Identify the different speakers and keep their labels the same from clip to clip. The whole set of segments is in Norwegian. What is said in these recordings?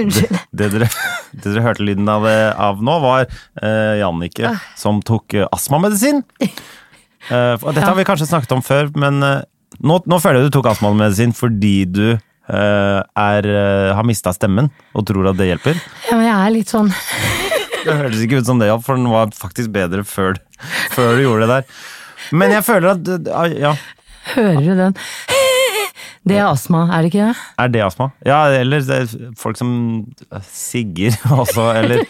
Speaker 1: Unnskyld.
Speaker 2: Det dere, det dere hørte lyden av, eh, av nå, var eh, Jannicke som tok eh, astmamedisin. Eh, og dette har vi kanskje snakket om før, men eh, nå, nå føler jeg du tok astmamedisin fordi du eh, er, eh, har mista stemmen og tror at det hjelper.
Speaker 1: Ja, men jeg er litt sånn
Speaker 2: Det høres ikke ut som det hjalp, for den var faktisk bedre før, før du gjorde det der. Men jeg føler at eh, Ja,
Speaker 1: Hører du den? Det er astma, er det ikke det?
Speaker 2: er det astma? Ja, eller det er folk som eh, sigger også, eller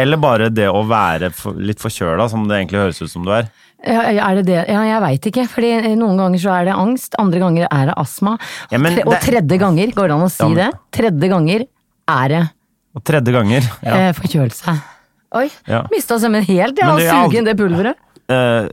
Speaker 2: eller bare det å være for- litt forkjøla, som det egentlig høres ut som du er.
Speaker 1: Ja, er det det? Ja, jeg veit ikke. fordi noen ganger så er det angst, andre ganger er det astma.
Speaker 2: Ja, men
Speaker 1: Tre- og
Speaker 2: det-
Speaker 1: tredje ganger, går det an å si
Speaker 2: Ja, men-
Speaker 1: det? Tredje ganger er det
Speaker 2: Og tredje ganger. Ja.
Speaker 1: eh, forkjølelse. Oi,
Speaker 2: Ja.
Speaker 1: mista stemmen helt, ja.
Speaker 2: Men det er aldri-
Speaker 1: Suge inn det pulveret.
Speaker 2: Eh,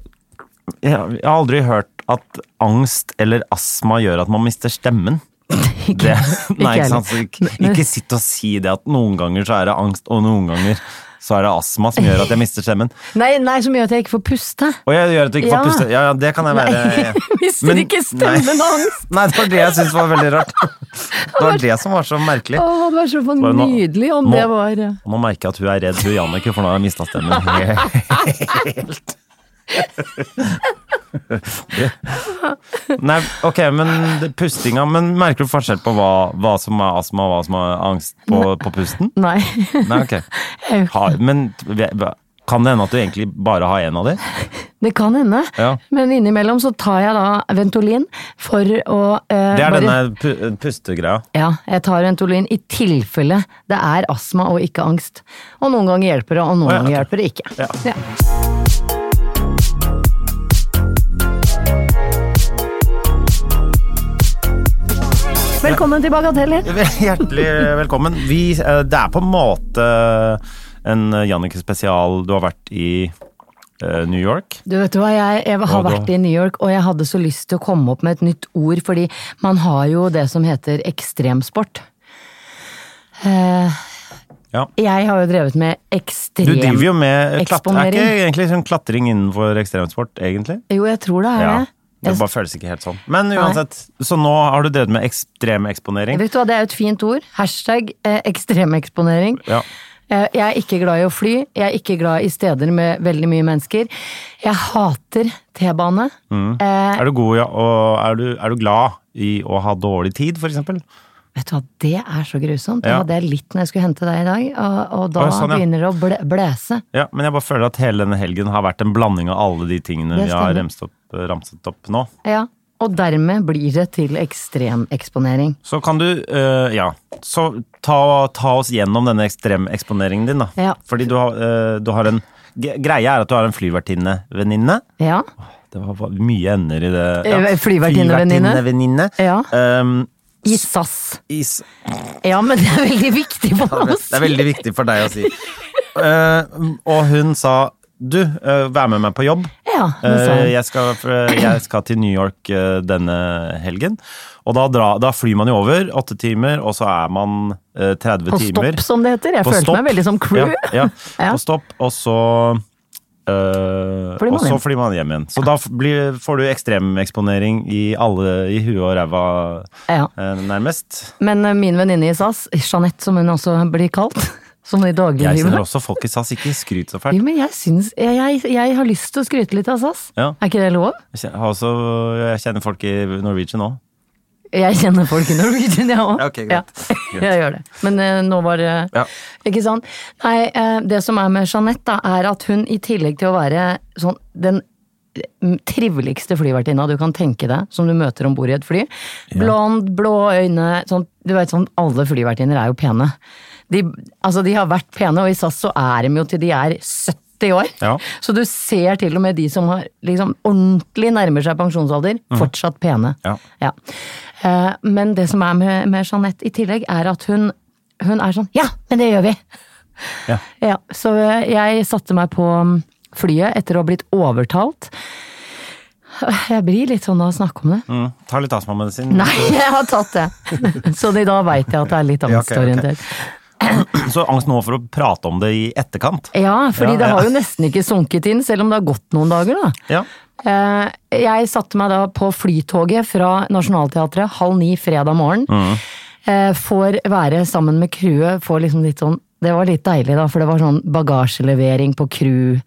Speaker 2: jeg jeg har aldri hørt at angst eller astma gjør at man mister stemmen. Det, nei,
Speaker 1: ikke
Speaker 2: ikke, sant? Så ikke, ikke sitt og si det at noen ganger så er det angst, og noen ganger så er det astma som gjør at jeg mister stemmen.
Speaker 1: Nei, nei, som gjør at jeg ikke får puste.
Speaker 2: Og jeg gjør at du ikke
Speaker 1: Ja.
Speaker 2: får puste. Ja, ja, det kan jeg være.
Speaker 1: Mister
Speaker 2: Men-
Speaker 1: ikke stemmen
Speaker 2: nei.
Speaker 1: av angst.
Speaker 2: Nei, det var det jeg syntes var veldig rart. Det var det som var så merkelig.
Speaker 1: Å, det var så
Speaker 2: Bare nå-
Speaker 1: nydelig om
Speaker 2: nå-
Speaker 1: det var eh,
Speaker 2: Nå merker jeg at hun er redd, hun Jannicke, for nå har jeg mista stemmen helt. Nei, ok, men det- pustinga Men merker du forskjell på hva, hva som er astma og hva som er angst på, på pusten?
Speaker 1: Nei.
Speaker 2: Nei, ok. Ha, men kan det hende at du egentlig bare har én av de?
Speaker 1: Det kan hende.
Speaker 2: Ja.
Speaker 1: Men innimellom så tar jeg da Ventolin for å eh,
Speaker 2: Det er
Speaker 1: bare-
Speaker 2: denne pu pustegreia.
Speaker 1: Ja, jeg tar Ventolin i tilfelle det er astma og ikke angst. Og noen ganger hjelper det, og noen
Speaker 2: Å, ja,
Speaker 1: ganger
Speaker 2: ok.
Speaker 1: hjelper det ikke.
Speaker 2: Ja.
Speaker 1: Ja. Velkommen til Bagateller.
Speaker 2: Hjertelig velkommen. Vi, eh, det er på en måte en Jannicke spesial. Du har vært i eh, New York.
Speaker 1: Du vet du hva, jeg, jeg har
Speaker 2: Hva da?
Speaker 1: vært i New York, og jeg hadde så lyst til å komme opp med et nytt ord, fordi man har jo det som heter ekstremsport. Eh,
Speaker 2: Ja.
Speaker 1: jeg har jo drevet med
Speaker 2: Du
Speaker 1: ekstrem...
Speaker 2: driver jo med klat er
Speaker 1: Eksponering.
Speaker 2: ikke egentlig sånn klatring innenfor ekstremsport, egentlig?
Speaker 1: Jo, jeg tror det er
Speaker 2: Ja.
Speaker 1: det.
Speaker 2: Det
Speaker 1: Jeg-
Speaker 2: bare føles ikke helt sånn. Men uansett, så nå har du drevet med ekstrem eksponering.
Speaker 1: Vet du hva, det er jo et fint ord. Hashtag eh, ekstremeksponering.
Speaker 2: Ja.
Speaker 1: Eh, jeg er ikke glad i å fly. Jeg er ikke glad i steder med veldig mye mennesker. Jeg hater T-bane. Eh,
Speaker 2: Mm. Er du god, ja, og er du, er du glad i å ha dårlig tid, for eksempel?
Speaker 1: vet du hva, det er så grusomt. Det
Speaker 2: Ja.
Speaker 1: hadde jeg litt når jeg skulle hente deg i dag, og, og da
Speaker 2: Å, sånn, ja.
Speaker 1: begynner det å ble, blæse.
Speaker 2: Ja, men jeg bare føler at hele denne helgen har vært en blanding av alle de tingene
Speaker 1: Det
Speaker 2: vi har
Speaker 1: stemmer.
Speaker 2: remset opp, ramset opp nå.
Speaker 1: Ja. Og dermed blir det til ekstremeksponering.
Speaker 2: Så kan du, eh, ja, så ta, ta oss gjennom denne ekstremeksponeringen din da.
Speaker 1: Ja.
Speaker 2: Fordi du har, eh, du har en, ge- greia er at du har en flyvertinne venninne.
Speaker 1: Ja.
Speaker 2: Det var var mye ender i det.
Speaker 1: Eh, flyvertinnevenninne.
Speaker 2: Flyvertinnevenninne.
Speaker 1: Ja.
Speaker 2: Um,
Speaker 1: I SAS.
Speaker 2: is,
Speaker 1: Ja, men det er veldig viktig for oss.
Speaker 2: det er veldig viktig for deg å si. Eh, og hun sa, du, eh, vær med meg på jobb.
Speaker 1: Ja, det sa
Speaker 2: Eh,
Speaker 1: hun.
Speaker 2: jeg, skal, fra- jeg skal til New York eh, denne helgen. Og da, dra, da flyr man jo over åtte timer, og så er man eh, 30
Speaker 1: På
Speaker 2: timer.
Speaker 1: stopp, som det heter. Jeg
Speaker 2: På
Speaker 1: følte
Speaker 2: stopp.
Speaker 1: meg veldig som crew.
Speaker 2: Ja, ja.
Speaker 1: Ja.
Speaker 2: På stopp, og så øh,
Speaker 1: Flyr man
Speaker 2: og så
Speaker 1: hjem.
Speaker 2: flyr man hjem igjen. Så da f- blir, får du ekstremeksponering i alle i huet og ræva,
Speaker 1: Ja.
Speaker 2: eh, nærmest.
Speaker 1: Men eh, min venninne i SAS, Jeanette som hun også blir kalt, sånn i
Speaker 2: Jeg kjenner
Speaker 1: dagliglivet
Speaker 2: også folk i SAS, ikke skryt så
Speaker 1: Jo,
Speaker 2: fælt.
Speaker 1: men jeg, syns, jeg, jeg, jeg har lyst til å skryte litt av SAS.
Speaker 2: Ja.
Speaker 1: Er ikke det lov?
Speaker 2: Jeg kjenner, har også, jeg kjenner folk i Norwegian òg.
Speaker 1: Jeg kjenner folk i Norwegian, jeg òg.
Speaker 2: Ja, ok, greit. Greit.
Speaker 1: Jeg gjør det. Men eh, nå var det
Speaker 2: Ja.
Speaker 1: Ikke sant? Nei, eh, det som er med Jeanette, da, er at hun i tillegg til å være sånn den eh, triveligste flyvertinna du kan tenke deg, som du møter om bord i et fly. Blond, blå øyne sånn, Du vet sånn, alle flyvertinner er jo pene. De, altså, de har vært pene, og i SAS så er de jo til de er 70 70 år.
Speaker 2: Ja.
Speaker 1: Så du ser til og med de som har liksom ordentlig nærmer seg pensjonsalder, fortsatt pene.
Speaker 2: Mhm. Ja.
Speaker 1: Eh, men det som er med, med Jeanette i tillegg, er at hun, hun er sånn Ja, men det gjør vi!
Speaker 2: Ja.
Speaker 1: Ja, så eh, jeg satte meg på mm, flyet etter å ha blitt overtalt. Jeg blir litt sånn av å snakke om det.
Speaker 2: Mm. Ta litt astmamedisin.
Speaker 1: Nei, jeg har tatt det! Så i dag veit jeg at det er litt
Speaker 2: Ja, ok, ok.
Speaker 1: angstorientert.
Speaker 2: Så angst nå for å prate om det i etterkant.
Speaker 1: Ja, fordi
Speaker 2: Ja,
Speaker 1: det
Speaker 2: ja.
Speaker 1: har jo nesten ikke sunket inn, selv om det har gått noen dager, da.
Speaker 2: Ja.
Speaker 1: Eh, Jeg satte meg da på flytoget fra Nationaltheatret halv ni fredag morgen.
Speaker 2: Mm.
Speaker 1: Eh, Får være sammen med crewet, får liksom litt sånn Det var litt deilig, da, for det var sånn bagasjelevering på crew.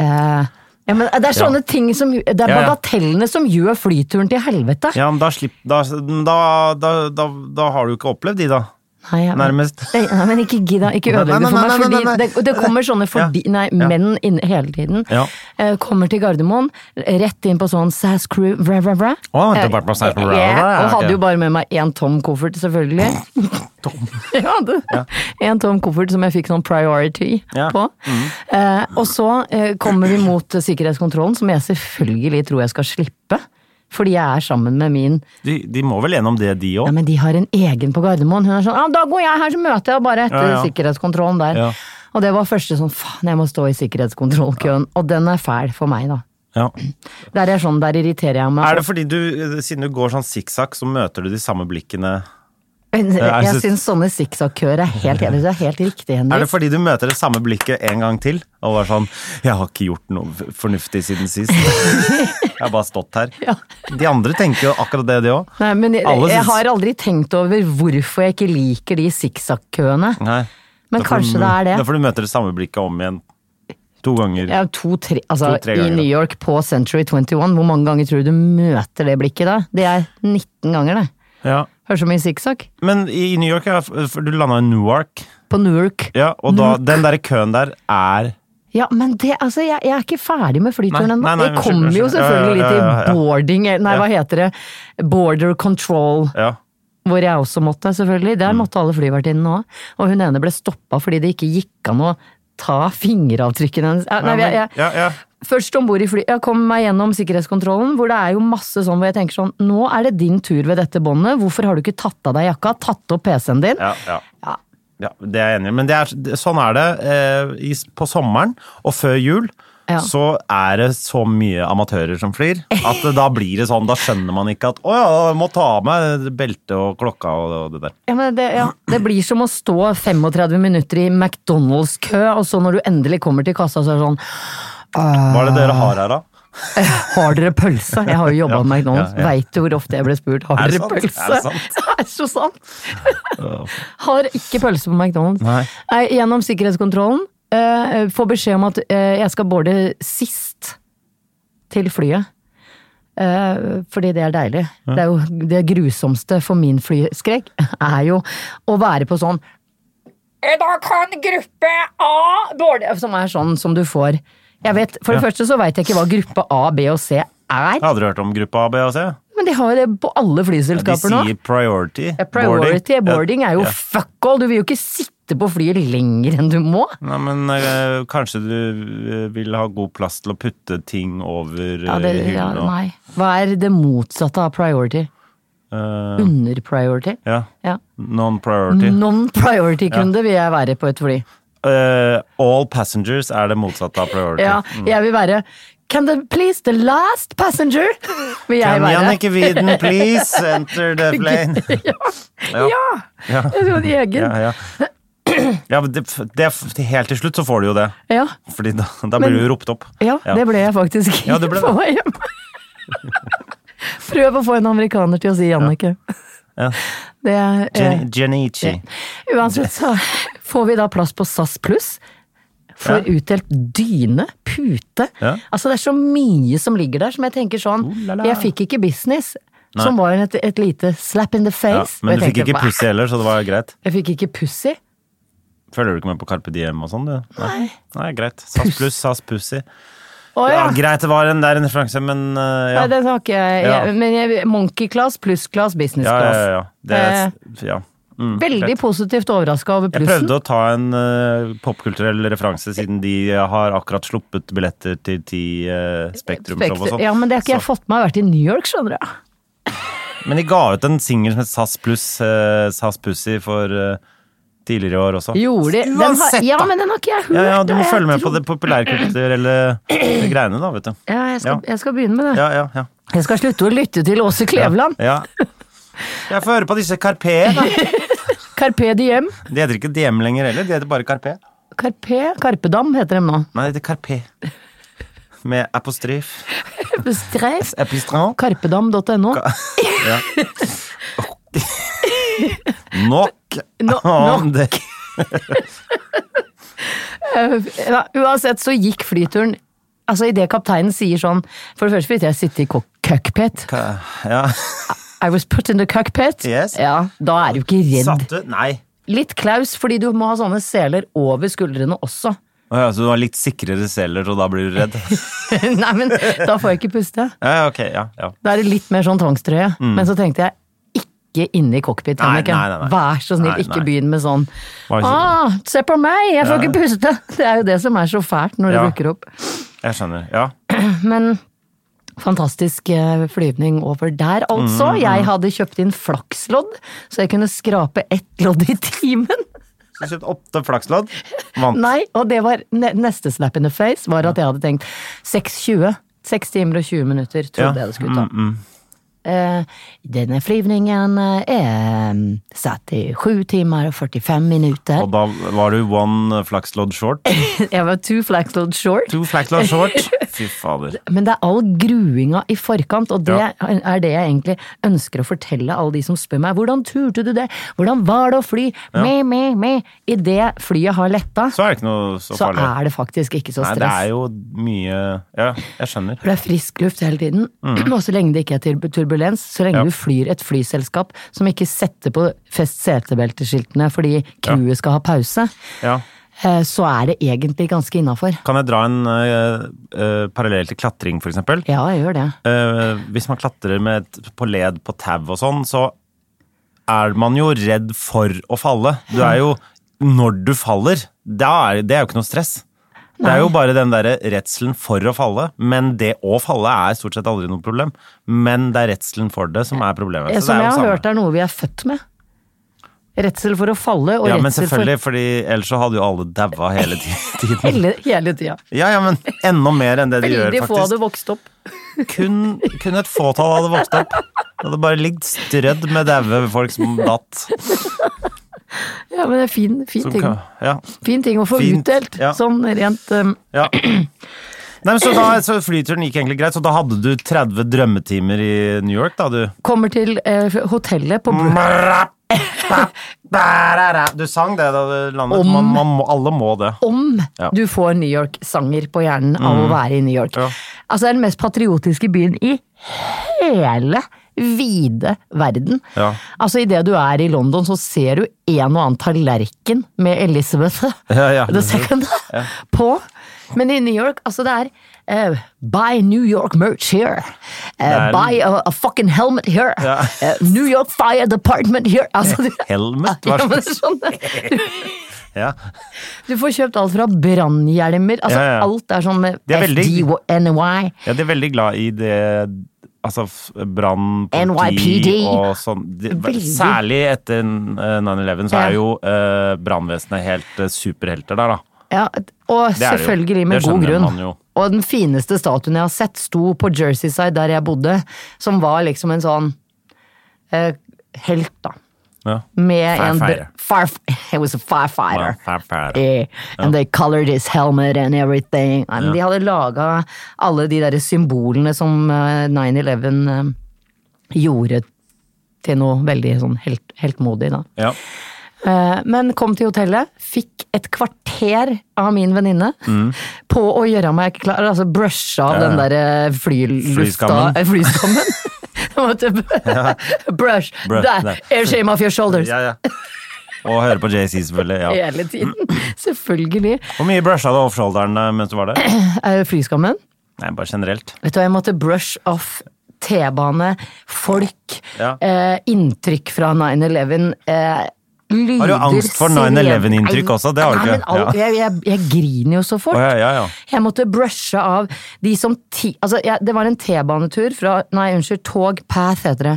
Speaker 1: Eh, Ja, men det er sånne ting som Det er
Speaker 2: Ja, ja.
Speaker 1: bagatellene som gjør flyturen til helvete.
Speaker 2: Ja, men da, slipp, da, da, da, da, da har du ikke opplevd de, da.
Speaker 1: Nei, ja, men-
Speaker 2: Nærmest.
Speaker 1: Nei, nei, men ikke gidd, da. Ikke
Speaker 2: Nei,
Speaker 1: ødelegg det
Speaker 2: nei,
Speaker 1: for
Speaker 2: nei,
Speaker 1: meg.
Speaker 2: nei, nei,
Speaker 1: Fordi
Speaker 2: nei,
Speaker 1: det, det kommer sånne fordi,
Speaker 2: Ja.
Speaker 1: nei,
Speaker 2: Ja.
Speaker 1: menn inn hele tiden.
Speaker 2: Ja.
Speaker 1: Eh, Kommer til Gardermoen, rett inn på sånn SAS crew, vra, vra, vra.
Speaker 2: Å, det var bare SAS crew, vra, vra,
Speaker 1: Eh,
Speaker 2: vra,
Speaker 1: Og
Speaker 2: ok.
Speaker 1: hadde jo bare med meg én tom koffert, selvfølgelig. ja, det, En tom koffert som jeg fikk sånn priority
Speaker 2: Ja. Mm.
Speaker 1: på. Eh, og så eh, kommer vi mot eh, sikkerhetskontrollen, som jeg selvfølgelig tror jeg skal slippe. Fordi jeg er sammen med min
Speaker 2: De, de må vel gjennom det, de
Speaker 1: ja,
Speaker 2: òg?
Speaker 1: men de har en egen på Gardermoen. Hun er sånn ah, 'Da går jeg her, så møter jeg bare etter
Speaker 2: Ja, ja.
Speaker 1: sikkerhetskontrollen der'.
Speaker 2: Ja.
Speaker 1: Og det var første sånn 'faen, jeg må stå i sikkerhetskontrollkøen'. Og den er fæl for meg, da.
Speaker 2: Ja.
Speaker 1: Der er sånn, der irriterer jeg meg.
Speaker 2: Er det fordi du, siden du går sånn sikksakk, så møter du de samme blikkene er
Speaker 1: jeg
Speaker 2: så-
Speaker 1: syns sånne sikksakkøer er helt enig, det er helt riktig,
Speaker 2: Er det
Speaker 1: Henrik.
Speaker 2: fordi du møter det samme blikket en gang til? Og var sånn 'Jeg har ikke gjort noe f- fornuftig siden sist'. Jeg har bare stått her. De andre tenker jo akkurat det, de òg.
Speaker 1: Nei, men jeg,
Speaker 2: Alle
Speaker 1: jeg
Speaker 2: syns-
Speaker 1: har aldri tenkt over hvorfor jeg ikke liker de sikksakkøene. Men kanskje det er det.
Speaker 2: Da får du møte det samme blikket om igjen. To ganger.
Speaker 1: Ja, to-tre altså,
Speaker 2: To-tre
Speaker 1: I
Speaker 2: ganger,
Speaker 1: New York på Century 21, hvor mange ganger tror du du møter det blikket da? Det er 19 ganger, det.
Speaker 2: Ja.
Speaker 1: Høres så mye sikksakk.
Speaker 2: Men i i New York, ja, for du landa i Newark,
Speaker 1: På Newark.
Speaker 2: ja, og da, den der køen der er
Speaker 1: Ja, men det, altså, jeg, jeg er ikke ferdig med flyturen
Speaker 2: Nei,
Speaker 1: ennå.
Speaker 2: nei, nei,
Speaker 1: Jeg
Speaker 2: unnskyld,
Speaker 1: kommer jo
Speaker 2: unnskyld.
Speaker 1: selvfølgelig
Speaker 2: Ja, ja, ja, ja, ja.
Speaker 1: til boarding, eh, nei, hva heter det, border control,
Speaker 2: Ja.
Speaker 1: hvor jeg også måtte, selvfølgelig.
Speaker 2: Mm.
Speaker 1: Der måtte alle flyvertinnene òg. Og hun ene ble stoppa fordi det ikke gikk an å ta fingeravtrykkene hennes. Ja, Nei,
Speaker 2: men-
Speaker 1: jeg, jeg,
Speaker 2: ja, ja.
Speaker 1: først om bord i fly, jeg kom meg gjennom sikkerhetskontrollen, hvor det er jo masse sånn hvor jeg tenker sånn, nå er det din tur ved dette båndet, hvorfor har du ikke tatt av deg jakka, tatt opp PC-en din?
Speaker 2: Ja, ja.
Speaker 1: Ja.
Speaker 2: Ja, det er jeg enig i. Men det er, det- sånn er det eh, i, på sommeren og før jul.
Speaker 1: Ja.
Speaker 2: Så er det så mye amatører som flyr, at det- da blir det sånn, da skjønner man ikke at 'Å ja, jeg må ta av meg beltet og klokka og, og det der'.
Speaker 1: Ja, men det, ja. det blir som å stå 35 minutter i McDonald's-kø, og så når du endelig kommer til kassa, så er det sånn
Speaker 2: Hva er det dere har her, da?
Speaker 1: Har dere pølse? Jeg har jo jobba
Speaker 2: Ja,
Speaker 1: med McDonald's.
Speaker 2: ja, ja.
Speaker 1: Veit du hvor ofte jeg ble spurt har
Speaker 2: Er det
Speaker 1: dere
Speaker 2: sant?
Speaker 1: pølse?
Speaker 2: Er det sant?
Speaker 1: Det er så sant! Har ikke pølse på McDonald's.
Speaker 2: Nei.
Speaker 1: gjennom sikkerhetskontrollen eh, får beskjed om at eh, jeg skal boarde sist til flyet. Eh, fordi det er deilig. Det er jo det grusomste for min flyskrekk er jo å være på sånn Eh, Da kan gruppe A boarde Som er sånn som du får. Jeg vet, for det første så veit jeg ikke hva gruppe A, B og C er.
Speaker 2: Jeg hadde du hørt om gruppa A, B og C.
Speaker 1: Men de har jo det på alle
Speaker 2: De
Speaker 1: flyselskaper nå.
Speaker 2: sier priority.
Speaker 1: Ja, Priority boarding er jo
Speaker 2: Ja.
Speaker 1: fuck all! Du vil jo ikke sitte på flyet lenger enn du må.
Speaker 2: Nei, men eh, kanskje du eh, vil ha god plass til å putte ting over
Speaker 1: Ja, det,
Speaker 2: eh,
Speaker 1: ja,
Speaker 2: hyllen og
Speaker 1: nei. Hva er det motsatte av priority?
Speaker 2: eh,
Speaker 1: Under-priority?
Speaker 2: ja.
Speaker 1: Ja.
Speaker 2: Non-priority.
Speaker 1: Non-priority-kunde vil jeg være på et fly.
Speaker 2: Eh, all passengers er det motsatte av priority.
Speaker 1: Ja, jeg vil være Can the please the last passenger? Vil jeg
Speaker 2: Can
Speaker 1: være.
Speaker 2: Jannicke Wieden please enter the plane? Ja.
Speaker 1: Ja!
Speaker 2: Ja.
Speaker 1: Jeg skal ha en egen.
Speaker 2: Ja, ja. ja men det, det, helt til slutt så får du jo det.
Speaker 1: Ja,
Speaker 2: Fordi da, da blir
Speaker 1: Men-
Speaker 2: du jo ropt opp.
Speaker 1: ja, det ble jeg faktisk
Speaker 2: Ja, det ble
Speaker 1: på
Speaker 2: det.
Speaker 1: vei hjem. Prøv å få en amerikaner til å si Jannicke.
Speaker 2: Ja.
Speaker 1: Det er eh,
Speaker 2: Gen- Genichi.
Speaker 1: Uansett så får vi da plass på SAS pluss. Får
Speaker 2: Ja.
Speaker 1: utdelt dyne, pute.
Speaker 2: Ja.
Speaker 1: Altså det er så mye som ligger der som jeg tenker sånn
Speaker 2: la la.
Speaker 1: Jeg fikk ikke business, som var et, et lite slap in the
Speaker 2: Ja,
Speaker 1: face. Og
Speaker 2: men
Speaker 1: jeg
Speaker 2: du fikk
Speaker 1: tenkte,
Speaker 2: ikke
Speaker 1: "Hva?"
Speaker 2: pussy heller, så det var greit.
Speaker 1: Jeg fikk ikke pussy.
Speaker 2: Følger du ikke med på Carpe Diem og sånn, du? Nei. Nei, greit. SAS pluss, SAS pussy.
Speaker 1: Å ja!
Speaker 2: Ja, greit, det var en, det er en referanse, men eh, ja.
Speaker 1: Nei, det har ikke jeg.
Speaker 2: Ja.
Speaker 1: jeg men jeg, monkey class, pluss class, business
Speaker 2: Ja,
Speaker 1: class. Eh.
Speaker 2: ja, Mm. ja. ja. Det er, ja.
Speaker 1: Veldig positivt overraska over
Speaker 2: Jeg
Speaker 1: plussen.
Speaker 2: prøvde å ta en eh, popkulturell referanse, siden de har akkurat sluppet billetter til ti eh, Spektrum-show og
Speaker 1: Spekter-
Speaker 2: sånn.
Speaker 1: Ja, men det har ikke jeg
Speaker 2: Så-
Speaker 1: fått med meg. Jeg har vært i New York, skjønner du.
Speaker 2: Men de ga ut en singel som het SAS pluss eh, SAS Pussy for eh, tidligere i år også.
Speaker 1: Gjorde de? Den har,
Speaker 2: Uansett,
Speaker 1: ja,
Speaker 2: da!
Speaker 1: men den har ikke jeg hørt.
Speaker 2: Ja, ja, du må
Speaker 1: og jeg
Speaker 2: følge med på
Speaker 1: tror-
Speaker 2: det populærkulturelle greiene, da, vet du.
Speaker 1: Ja, jeg skal, jeg skal begynne med det.
Speaker 2: Ja, ja, ja.
Speaker 1: Jeg skal slutte å lytte til Åse Kleveland.
Speaker 2: Ja. Jeg får høre på disse Carpe. da.
Speaker 1: Carpe Diem.
Speaker 2: De heter ikke DM lenger heller, de heter bare Carpe.
Speaker 1: Carpe, Carpedam heter de nå.
Speaker 2: Nei, det heter Carpe. Med apostrif.
Speaker 1: Streif.
Speaker 2: Epistran.
Speaker 1: Carpedam.no.
Speaker 2: Ja. Nok
Speaker 1: No-
Speaker 2: om
Speaker 1: nok.
Speaker 2: det.
Speaker 1: Ja, uansett så gikk flyturen Altså, Idet kapteinen sier sånn For det første fikk jeg sitte i kok- cockpit.
Speaker 2: Ja.
Speaker 1: I was put in the cockpit.
Speaker 2: Yes.
Speaker 1: Ja, Da er du ikke redd.
Speaker 2: Satt du? Nei.
Speaker 1: Litt klaus, fordi du må ha sånne seler over skuldrene også.
Speaker 2: Å ja, så du har litt sikrere seler, og da blir du redd?
Speaker 1: Nei, men da får jeg ikke puste.
Speaker 2: Ja, ok, ja. ja.
Speaker 1: Da er det litt mer sånn tvangstrøye. Men så tenkte jeg ikke inne i cockpit,
Speaker 2: Mm. Nei,
Speaker 1: Anniken.
Speaker 2: nei, nei, nei.
Speaker 1: Vær så snill,
Speaker 2: Nei,
Speaker 1: ikke
Speaker 2: nei.
Speaker 1: begynn med sånn
Speaker 2: Hva er det-
Speaker 1: ah, se på meg, jeg får ikke puste! Det er jo det som er så fælt når det
Speaker 2: Ja.
Speaker 1: dukker opp.
Speaker 2: Jeg skjønner. Ja.
Speaker 1: Men fantastisk eh, flyvning over der, altså.
Speaker 2: Mm.
Speaker 1: Jeg hadde kjøpt inn flakslodd, så jeg kunne skrape ett lodd i timen.
Speaker 2: Så kjøpt åtte flakslodd. Vant.
Speaker 1: Nei, og det var ne- neste snap in the face, var at jeg hadde tenkt 6.20. 6 timer og 20 minutter, trodde
Speaker 2: Ja, Mm,
Speaker 1: jeg det skulle ta. Eh, denne flyvningen eh, er mm, satt i 7 timer og 45 minutter.
Speaker 2: Og da var du one flakslodd short.
Speaker 1: Jeg var two flaxload short.
Speaker 2: To flakslodd short. Fy fader.
Speaker 1: Men det er all gruinga i forkant, og det
Speaker 2: Ja.
Speaker 1: er det jeg egentlig ønsker å fortelle alle de som spør meg hvordan turte du det, hvordan var det å fly, me, me, me. Idet flyet har letta,
Speaker 2: Så er det ikke noe så
Speaker 1: så
Speaker 2: farlig.
Speaker 1: er det faktisk ikke så
Speaker 2: Nei,
Speaker 1: stress.
Speaker 2: det er jo mye Ja, jeg skjønner.
Speaker 1: For det er frisk luft hele tiden, og så lenge det ikke er tur- turbulens, så lenge
Speaker 2: Mm. Ja.
Speaker 1: du flyr et flyselskap som ikke setter på fest setebelteskiltene fordi crewet skal ha pause,
Speaker 2: Ja.
Speaker 1: eh, så er det egentlig ganske innafor.
Speaker 2: Kan jeg dra en eh, eh, parallell til klatring, for eksempel?
Speaker 1: Ja, jeg gjør det.
Speaker 2: Eh, hvis man klatrer med, et- på led på tau og sånn, så er man jo redd for å falle. Du er jo Når du faller, da er, det er jo ikke noe stress. Det er jo bare den derre redselen for å falle. Men det å falle er stort sett aldri noe problem. Men det er redselen for det som er problemet. Så
Speaker 1: Eh, Som
Speaker 2: det er
Speaker 1: jeg
Speaker 2: jo
Speaker 1: har
Speaker 2: samme.
Speaker 1: hørt er noe vi er født med. Redsel for å falle og
Speaker 2: Ja, men
Speaker 1: redsel for
Speaker 2: selvfølgelig, fordi ellers så hadde jo alle daua hele ti- tiden.
Speaker 1: hele, hele tida.
Speaker 2: Ja, ja, men enda mer enn det de gjør,
Speaker 1: Veldig få
Speaker 2: faktisk.
Speaker 1: hadde vokst opp.
Speaker 2: Kun, kun et fåtall hadde vokst opp. Det hadde bare ligget strødd med daue folk som datt.
Speaker 1: Ja, men det er fin, fin,
Speaker 2: Som
Speaker 1: ting.
Speaker 2: kan- Ja.
Speaker 1: fin ting å få
Speaker 2: Fint,
Speaker 1: utdelt.
Speaker 2: ja.
Speaker 1: Sånn rent um,
Speaker 2: ja. Nei, men så, da, så flyturen gikk egentlig greit, så da hadde du 30 drømmetimer i New York, da du
Speaker 1: Kommer til eh, hotellet på
Speaker 2: Mm.
Speaker 1: Bro-
Speaker 2: Du sang det da du landet.
Speaker 1: Om.
Speaker 2: Man, man må, alle må det.
Speaker 1: Om
Speaker 2: Ja. Mm.
Speaker 1: du får New York-sanger på hjernen av å være i New York.
Speaker 2: Ja.
Speaker 1: Altså, det er den mest patriotiske byen i hele vide verden.
Speaker 2: Ja.
Speaker 1: Altså, idet du er i London, så ser du en og annen tallerken med Elizabeth
Speaker 2: Ja, ja.
Speaker 1: the second på. Men i New York, altså det er eh, Buy New York merch here. Eh,
Speaker 2: er-
Speaker 1: buy a, a fucking helmet here.
Speaker 2: Ja.
Speaker 1: Eh, New York Fire Department here. Altså, det-
Speaker 2: Helmet,
Speaker 1: ja,
Speaker 2: hva
Speaker 1: men
Speaker 2: slags
Speaker 1: det er sånn,
Speaker 2: ja.
Speaker 1: du får kjøpt alt fra brannhjelmer, altså
Speaker 2: Ja, ja.
Speaker 1: alt er sånn med
Speaker 2: De er veldig-
Speaker 1: FDNY.
Speaker 2: ja, de er veldig glad i det Altså f- brann,
Speaker 1: NYPD.
Speaker 2: politi og sånn. De-
Speaker 1: Veldig.
Speaker 2: Særlig etter eh, 9-11 så
Speaker 1: Ja.
Speaker 2: er jo eh, brannvesenet helt eh, superhelter der, da.
Speaker 1: Ja, og
Speaker 2: Det er det jo.
Speaker 1: selvfølgelig med
Speaker 2: Det
Speaker 1: god
Speaker 2: skjønner
Speaker 1: grunn.
Speaker 2: man jo.
Speaker 1: Og den fineste statuen jeg har sett, sto på Jerseyside der jeg bodde, som var liksom en sånn eh, helt, da.
Speaker 2: Ja.
Speaker 1: Med en br-
Speaker 2: Firefighter.
Speaker 1: firef- It was a firefighter.
Speaker 2: Firefighter.
Speaker 1: Eh, and they colored his helmet and everything. And De hadde laga alle de derre symbolene som eh, 9-11 eh, gjorde til noe veldig sånn helt, heltmodig, da.
Speaker 2: Ja.
Speaker 1: Eh, Men kom til hotellet, fikk et kvarter av min venninne
Speaker 2: Mm.
Speaker 1: på å gjøre meg klar, altså brushe av den der eh, flylufta
Speaker 2: Flyskammen.
Speaker 1: eh, Flyskammen. Jeg måtte b- brush,
Speaker 2: Brush,
Speaker 1: that,
Speaker 2: nei.
Speaker 1: air shame off your shoulders.
Speaker 2: Ja, ja. Og høre på JC, selvfølgelig. Ja.
Speaker 1: Hele tiden. Selvfølgelig.
Speaker 2: Hvor mye brusha du off-shoulderne mens du var der?
Speaker 1: Eh, Flyskammen.
Speaker 2: Nei, bare generelt.
Speaker 1: Vet du hva, jeg måtte brush off T-bane, folk,
Speaker 2: Ja.
Speaker 1: eh, inntrykk fra 9-11. Eh, lyder,
Speaker 2: Har du angst for 9-11-inntrykk også? Det har du
Speaker 1: Nei,
Speaker 2: ikke.
Speaker 1: men alt,
Speaker 2: Ja.
Speaker 1: jeg, jeg, jeg griner jo så fort.
Speaker 2: Å, ja, ja, ja.
Speaker 1: Jeg måtte brushe av de som ti... Altså, jeg, det var en T-banetur fra Nei, unnskyld, Tog Path heter det.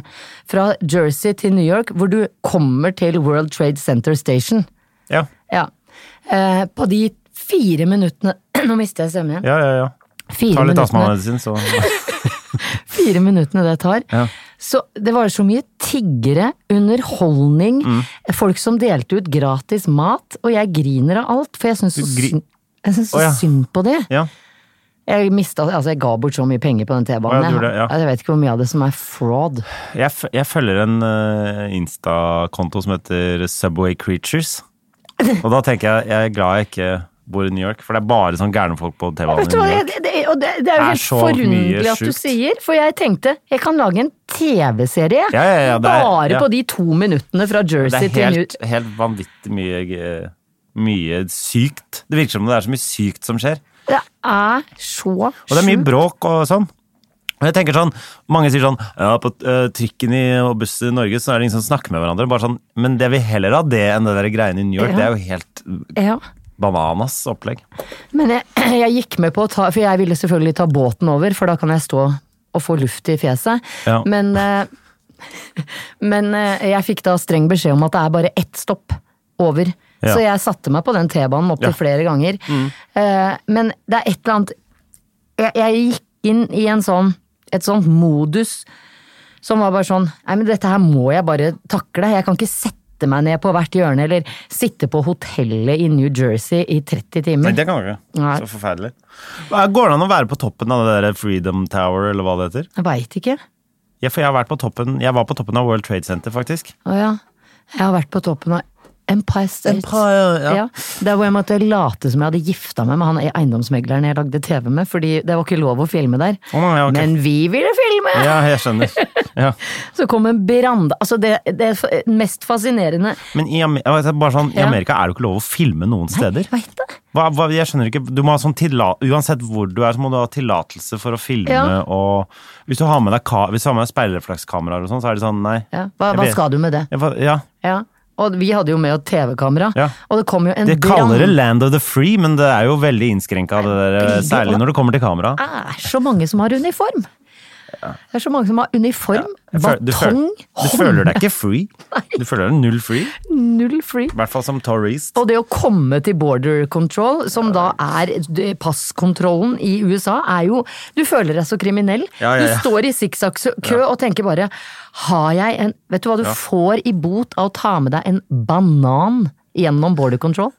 Speaker 1: Fra Jersey til New York, hvor du kommer til World Trade Center Station.
Speaker 2: Ja,
Speaker 1: Ja. Eh, på de fire minuttene Nå mister jeg stemmen igjen.
Speaker 2: ja, ja. ja.
Speaker 1: Fire
Speaker 2: Ta litt
Speaker 1: minuttene-
Speaker 2: astmamedisin, så
Speaker 1: fire minuttene det tar.
Speaker 2: Ja.
Speaker 1: Så det var så mye tiggere, underholdning,
Speaker 2: Mm.
Speaker 1: folk som delte ut gratis mat, og jeg griner av alt, for jeg syns så,
Speaker 2: gri-
Speaker 1: syn- jeg syns så
Speaker 2: Å, ja.
Speaker 1: synd på det.
Speaker 2: Ja.
Speaker 1: Jeg, mistet, altså jeg ga bort så mye penger på den
Speaker 2: Å, ja,
Speaker 1: T-banen.
Speaker 2: du gjorde det, ja.
Speaker 1: Jeg- Jeg vet ikke hvor mye av det som er fraud.
Speaker 2: Jeg, f jeg følger en eh, Insta-konto som heter Subway Creatures. Og da tenker jeg jeg er glad jeg ikke bor i New York, for det er bare sånn gærne folk på T-banen.
Speaker 1: Vet
Speaker 2: i
Speaker 1: du hva,
Speaker 2: New York.
Speaker 1: det, det, og det, det er jo
Speaker 2: Er
Speaker 1: helt
Speaker 2: så
Speaker 1: forunderlig
Speaker 2: mye
Speaker 1: at du
Speaker 2: sjukt.
Speaker 1: sier, for jeg tenkte jeg kan lage en TV-serie
Speaker 2: Ja, ja, ja, det er-
Speaker 1: bare
Speaker 2: ja.
Speaker 1: på de to minuttene fra
Speaker 2: Det
Speaker 1: Jersey
Speaker 2: er
Speaker 1: til New
Speaker 2: helt, helt vanvittig mye, eh, mye sykt. Det virker som det er så mye sykt som skjer.
Speaker 1: Det er så
Speaker 2: Og det er mye
Speaker 1: sjukt.
Speaker 2: bråk og sånn. Og jeg tenker sånn, Mange sier sånn ja, på eh, trikken i, og bussen i Norge så er det ingen som snakker med hverandre. Bare sånn, Men det vil heller ha det enn det der greiene i New York.
Speaker 1: Ja.
Speaker 2: Det er jo helt
Speaker 1: Ja.
Speaker 2: bananas opplegg.
Speaker 1: Men jeg, jeg gikk med på å ta For jeg ville selvfølgelig ta båten over, for da kan jeg stå og få luft i fjeset.
Speaker 2: Ja.
Speaker 1: Men, eh, men eh, jeg fikk da streng beskjed om at det er bare ett stopp over.
Speaker 2: Ja.
Speaker 1: Så jeg satte meg på den T-banen opptil
Speaker 2: Ja. Mm.
Speaker 1: flere ganger. Eh, men det er et eller annet jeg, jeg gikk inn i en sånn, et sånt modus som var bare sånn Nei, men dette her må jeg bare takle. Jeg kan ikke sette meg ned på hvert hjørne eller sitte på hotellet i New Jersey i 30 timer.
Speaker 2: Nei, det kan du ikke.
Speaker 1: Nei.
Speaker 2: Så forferdelig. Hva- Går det an å være på toppen av det der Freedom Tower, eller hva det heter?
Speaker 1: Jeg veit ikke.
Speaker 2: Ja, for jeg, har vært på toppen, jeg var på toppen av World Trade Center, faktisk.
Speaker 1: Å ja. Jeg har vært på toppen av Empire State.
Speaker 2: Empire, ja.
Speaker 1: Der hvor jeg måtte late som jeg hadde gifta meg med han eiendomsmegleren jeg lagde TV med, fordi det var ikke lov å filme der.
Speaker 2: Å, nei, ok.
Speaker 1: Men vi ville filme!
Speaker 2: Ja, jeg skjønner. Ja.
Speaker 1: Så kom en Brande Altså, det, det f- mest fascinerende
Speaker 2: Men i, Amer- jeg vet, bare sånn, i
Speaker 1: Ja.
Speaker 2: Amerika er det jo ikke lov å filme noen steder.
Speaker 1: Veit det?
Speaker 2: Hva, hva, jeg skjønner ikke, du må ha sånn tilla, Uansett hvor du er, så må du ha tillatelse for å filme.
Speaker 1: Ja.
Speaker 2: og Hvis du har med deg, ka- hvis du har med deg speilreflekskameraer, og sånn, så er det sånn nei.
Speaker 1: Ja. Hva,
Speaker 2: Jeg
Speaker 1: hva
Speaker 2: vet-
Speaker 1: skal du med det?
Speaker 2: Ja, hva- ja.
Speaker 1: Ja. Og vi hadde jo med oss TV-kamera,
Speaker 2: Ja.
Speaker 1: og det kom jo en
Speaker 2: De kaller det
Speaker 1: brand-
Speaker 2: 'land of the free', men det er jo veldig innskrenka, eh, særlig når det kommer til kamera.
Speaker 1: Det er så mange som har uniform! Det er så mange som har uniform,
Speaker 2: Jeg føl- du føl-
Speaker 1: batong,
Speaker 2: Du føler deg ikke free. Du føler deg null free.
Speaker 1: null free.
Speaker 2: I hvert fall som tourist.
Speaker 1: Og det å komme til border control, som da er d- passkontrollen i USA, er jo Du føler deg så kriminell.
Speaker 2: Ja, ja, ja.
Speaker 1: Du står i sikksakk-kø og tenker bare Har jeg en Vet du hva du får i bot av å ta med deg en banan gjennom border control?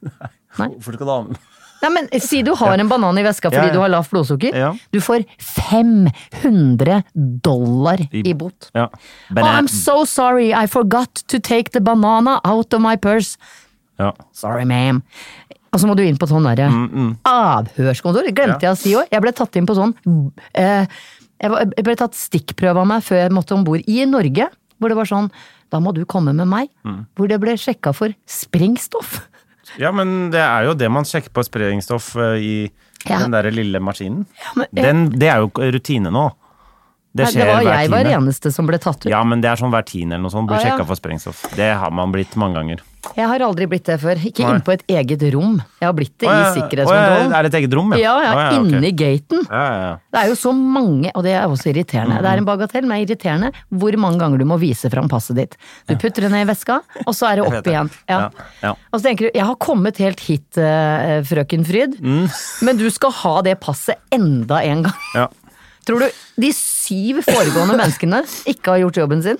Speaker 2: Hvorfor skal du ha med
Speaker 1: Nei, men Si du har en banan i veska fordi
Speaker 2: Ja, ja.
Speaker 1: du har lavt blodsukker.
Speaker 2: Ja.
Speaker 1: Du får 500 dollar i,
Speaker 2: I-
Speaker 1: bot.
Speaker 2: ja.
Speaker 1: Oh, I'm so sorry, I forgot to take the banana out of my purse.
Speaker 2: ja.
Speaker 1: Sorry, ma'am. Og så må du inn på sånn derre
Speaker 2: Mm,
Speaker 1: avhørskontor. Det Glemte jeg å si òg. Jeg ble tatt inn på sånn eh, jeg, var, jeg ble tatt stikkprøve av meg før jeg måtte om bord i Norge. Hvor det var sånn Da må du komme med meg.
Speaker 2: Mm.
Speaker 1: Hvor det ble sjekka for sprengstoff.
Speaker 2: ja, men det er jo det man sjekker på sprengstoff eh, i
Speaker 1: Ja.
Speaker 2: den derre lille maskinen.
Speaker 1: men- eh,
Speaker 2: den, det er jo rutine nå. Det
Speaker 1: Nei,
Speaker 2: skjer
Speaker 1: det var
Speaker 2: hver
Speaker 1: jeg var
Speaker 2: tiende.
Speaker 1: eneste som ble tatt ut.
Speaker 2: Ja, men det er sånn hver tiende eller noe sånt. Blir
Speaker 1: Ah, ja.
Speaker 2: sjekka for sprengstoff. Det har man blitt mange ganger.
Speaker 1: Jeg har aldri blitt det før. Ikke
Speaker 2: Nei.
Speaker 1: inn på et eget rom. Jeg har blitt det
Speaker 2: Å, ja.
Speaker 1: i
Speaker 2: Å, ja,
Speaker 1: sikkerhetskontrollen.
Speaker 2: Er det et eget rom,
Speaker 1: Ja, ja,
Speaker 2: Å, ok.
Speaker 1: inni gaten.
Speaker 2: ja, ja, ja.
Speaker 1: Det er jo så mange, og det er også irriterende.
Speaker 2: Mm.
Speaker 1: Det er en bagatell, men irriterende hvor mange ganger du må vise fram passet ditt. Du putter det ned i veska, og så er det
Speaker 2: vet
Speaker 1: opp
Speaker 2: det.
Speaker 1: igjen. Ja.
Speaker 2: Ja, ja.
Speaker 1: Og så tenker du, jeg har kommet helt hit, eh, frøken Fryd,
Speaker 2: Mm.
Speaker 1: men du skal ha det passet enda en gang.
Speaker 2: Ja.
Speaker 1: Tror du de syv foregående menneskene ikke har gjort jobben sin?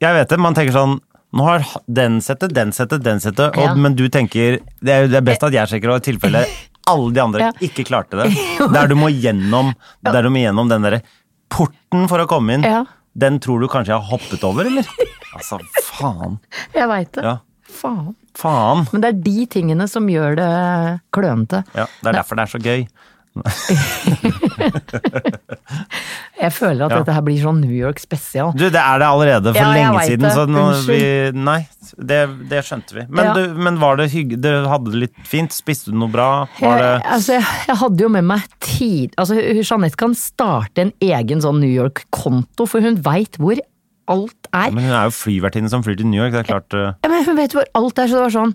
Speaker 2: Jeg vet det, man tenker sånn nå har den settet, den settet, den settet, og,
Speaker 1: Ja.
Speaker 2: men du tenker det er, det er best at jeg sjekker, og i tilfelle alle de andre
Speaker 1: Ja.
Speaker 2: ikke klarte det. Der du må gjennom, der du må gjennom den derre porten for å komme inn.
Speaker 1: Ja.
Speaker 2: Den tror du kanskje jeg har hoppet over, eller? Altså, faen.
Speaker 1: Jeg veit det.
Speaker 2: Ja.
Speaker 1: Faen.
Speaker 2: Faen.
Speaker 1: Men det er de tingene som gjør det klønete.
Speaker 2: Ja, det er derfor det er så gøy.
Speaker 1: Jeg føler at
Speaker 2: Ja.
Speaker 1: dette her blir sånn New York spesial.
Speaker 2: Du, det er det allerede for
Speaker 1: Ja, jeg
Speaker 2: lenge
Speaker 1: vet
Speaker 2: siden,
Speaker 1: det.
Speaker 2: så nå vi
Speaker 1: Unnskyld.
Speaker 2: Nei, det, det skjønte vi. Men,
Speaker 1: Ja.
Speaker 2: du, men var det hyggelig? Du hadde det litt fint? Spiste du noe bra?
Speaker 1: Jeg,
Speaker 2: Var det
Speaker 1: altså, jeg, jeg hadde jo med meg tid Altså, hun- Jeanette kan starte en egen sånn New York-konto, for hun veit hvor alt er.
Speaker 2: Men hun er jo flyvertinne som flyr til New York. Det er klart eh,
Speaker 1: Ja, men hun vet hvor alt er, så det var sånn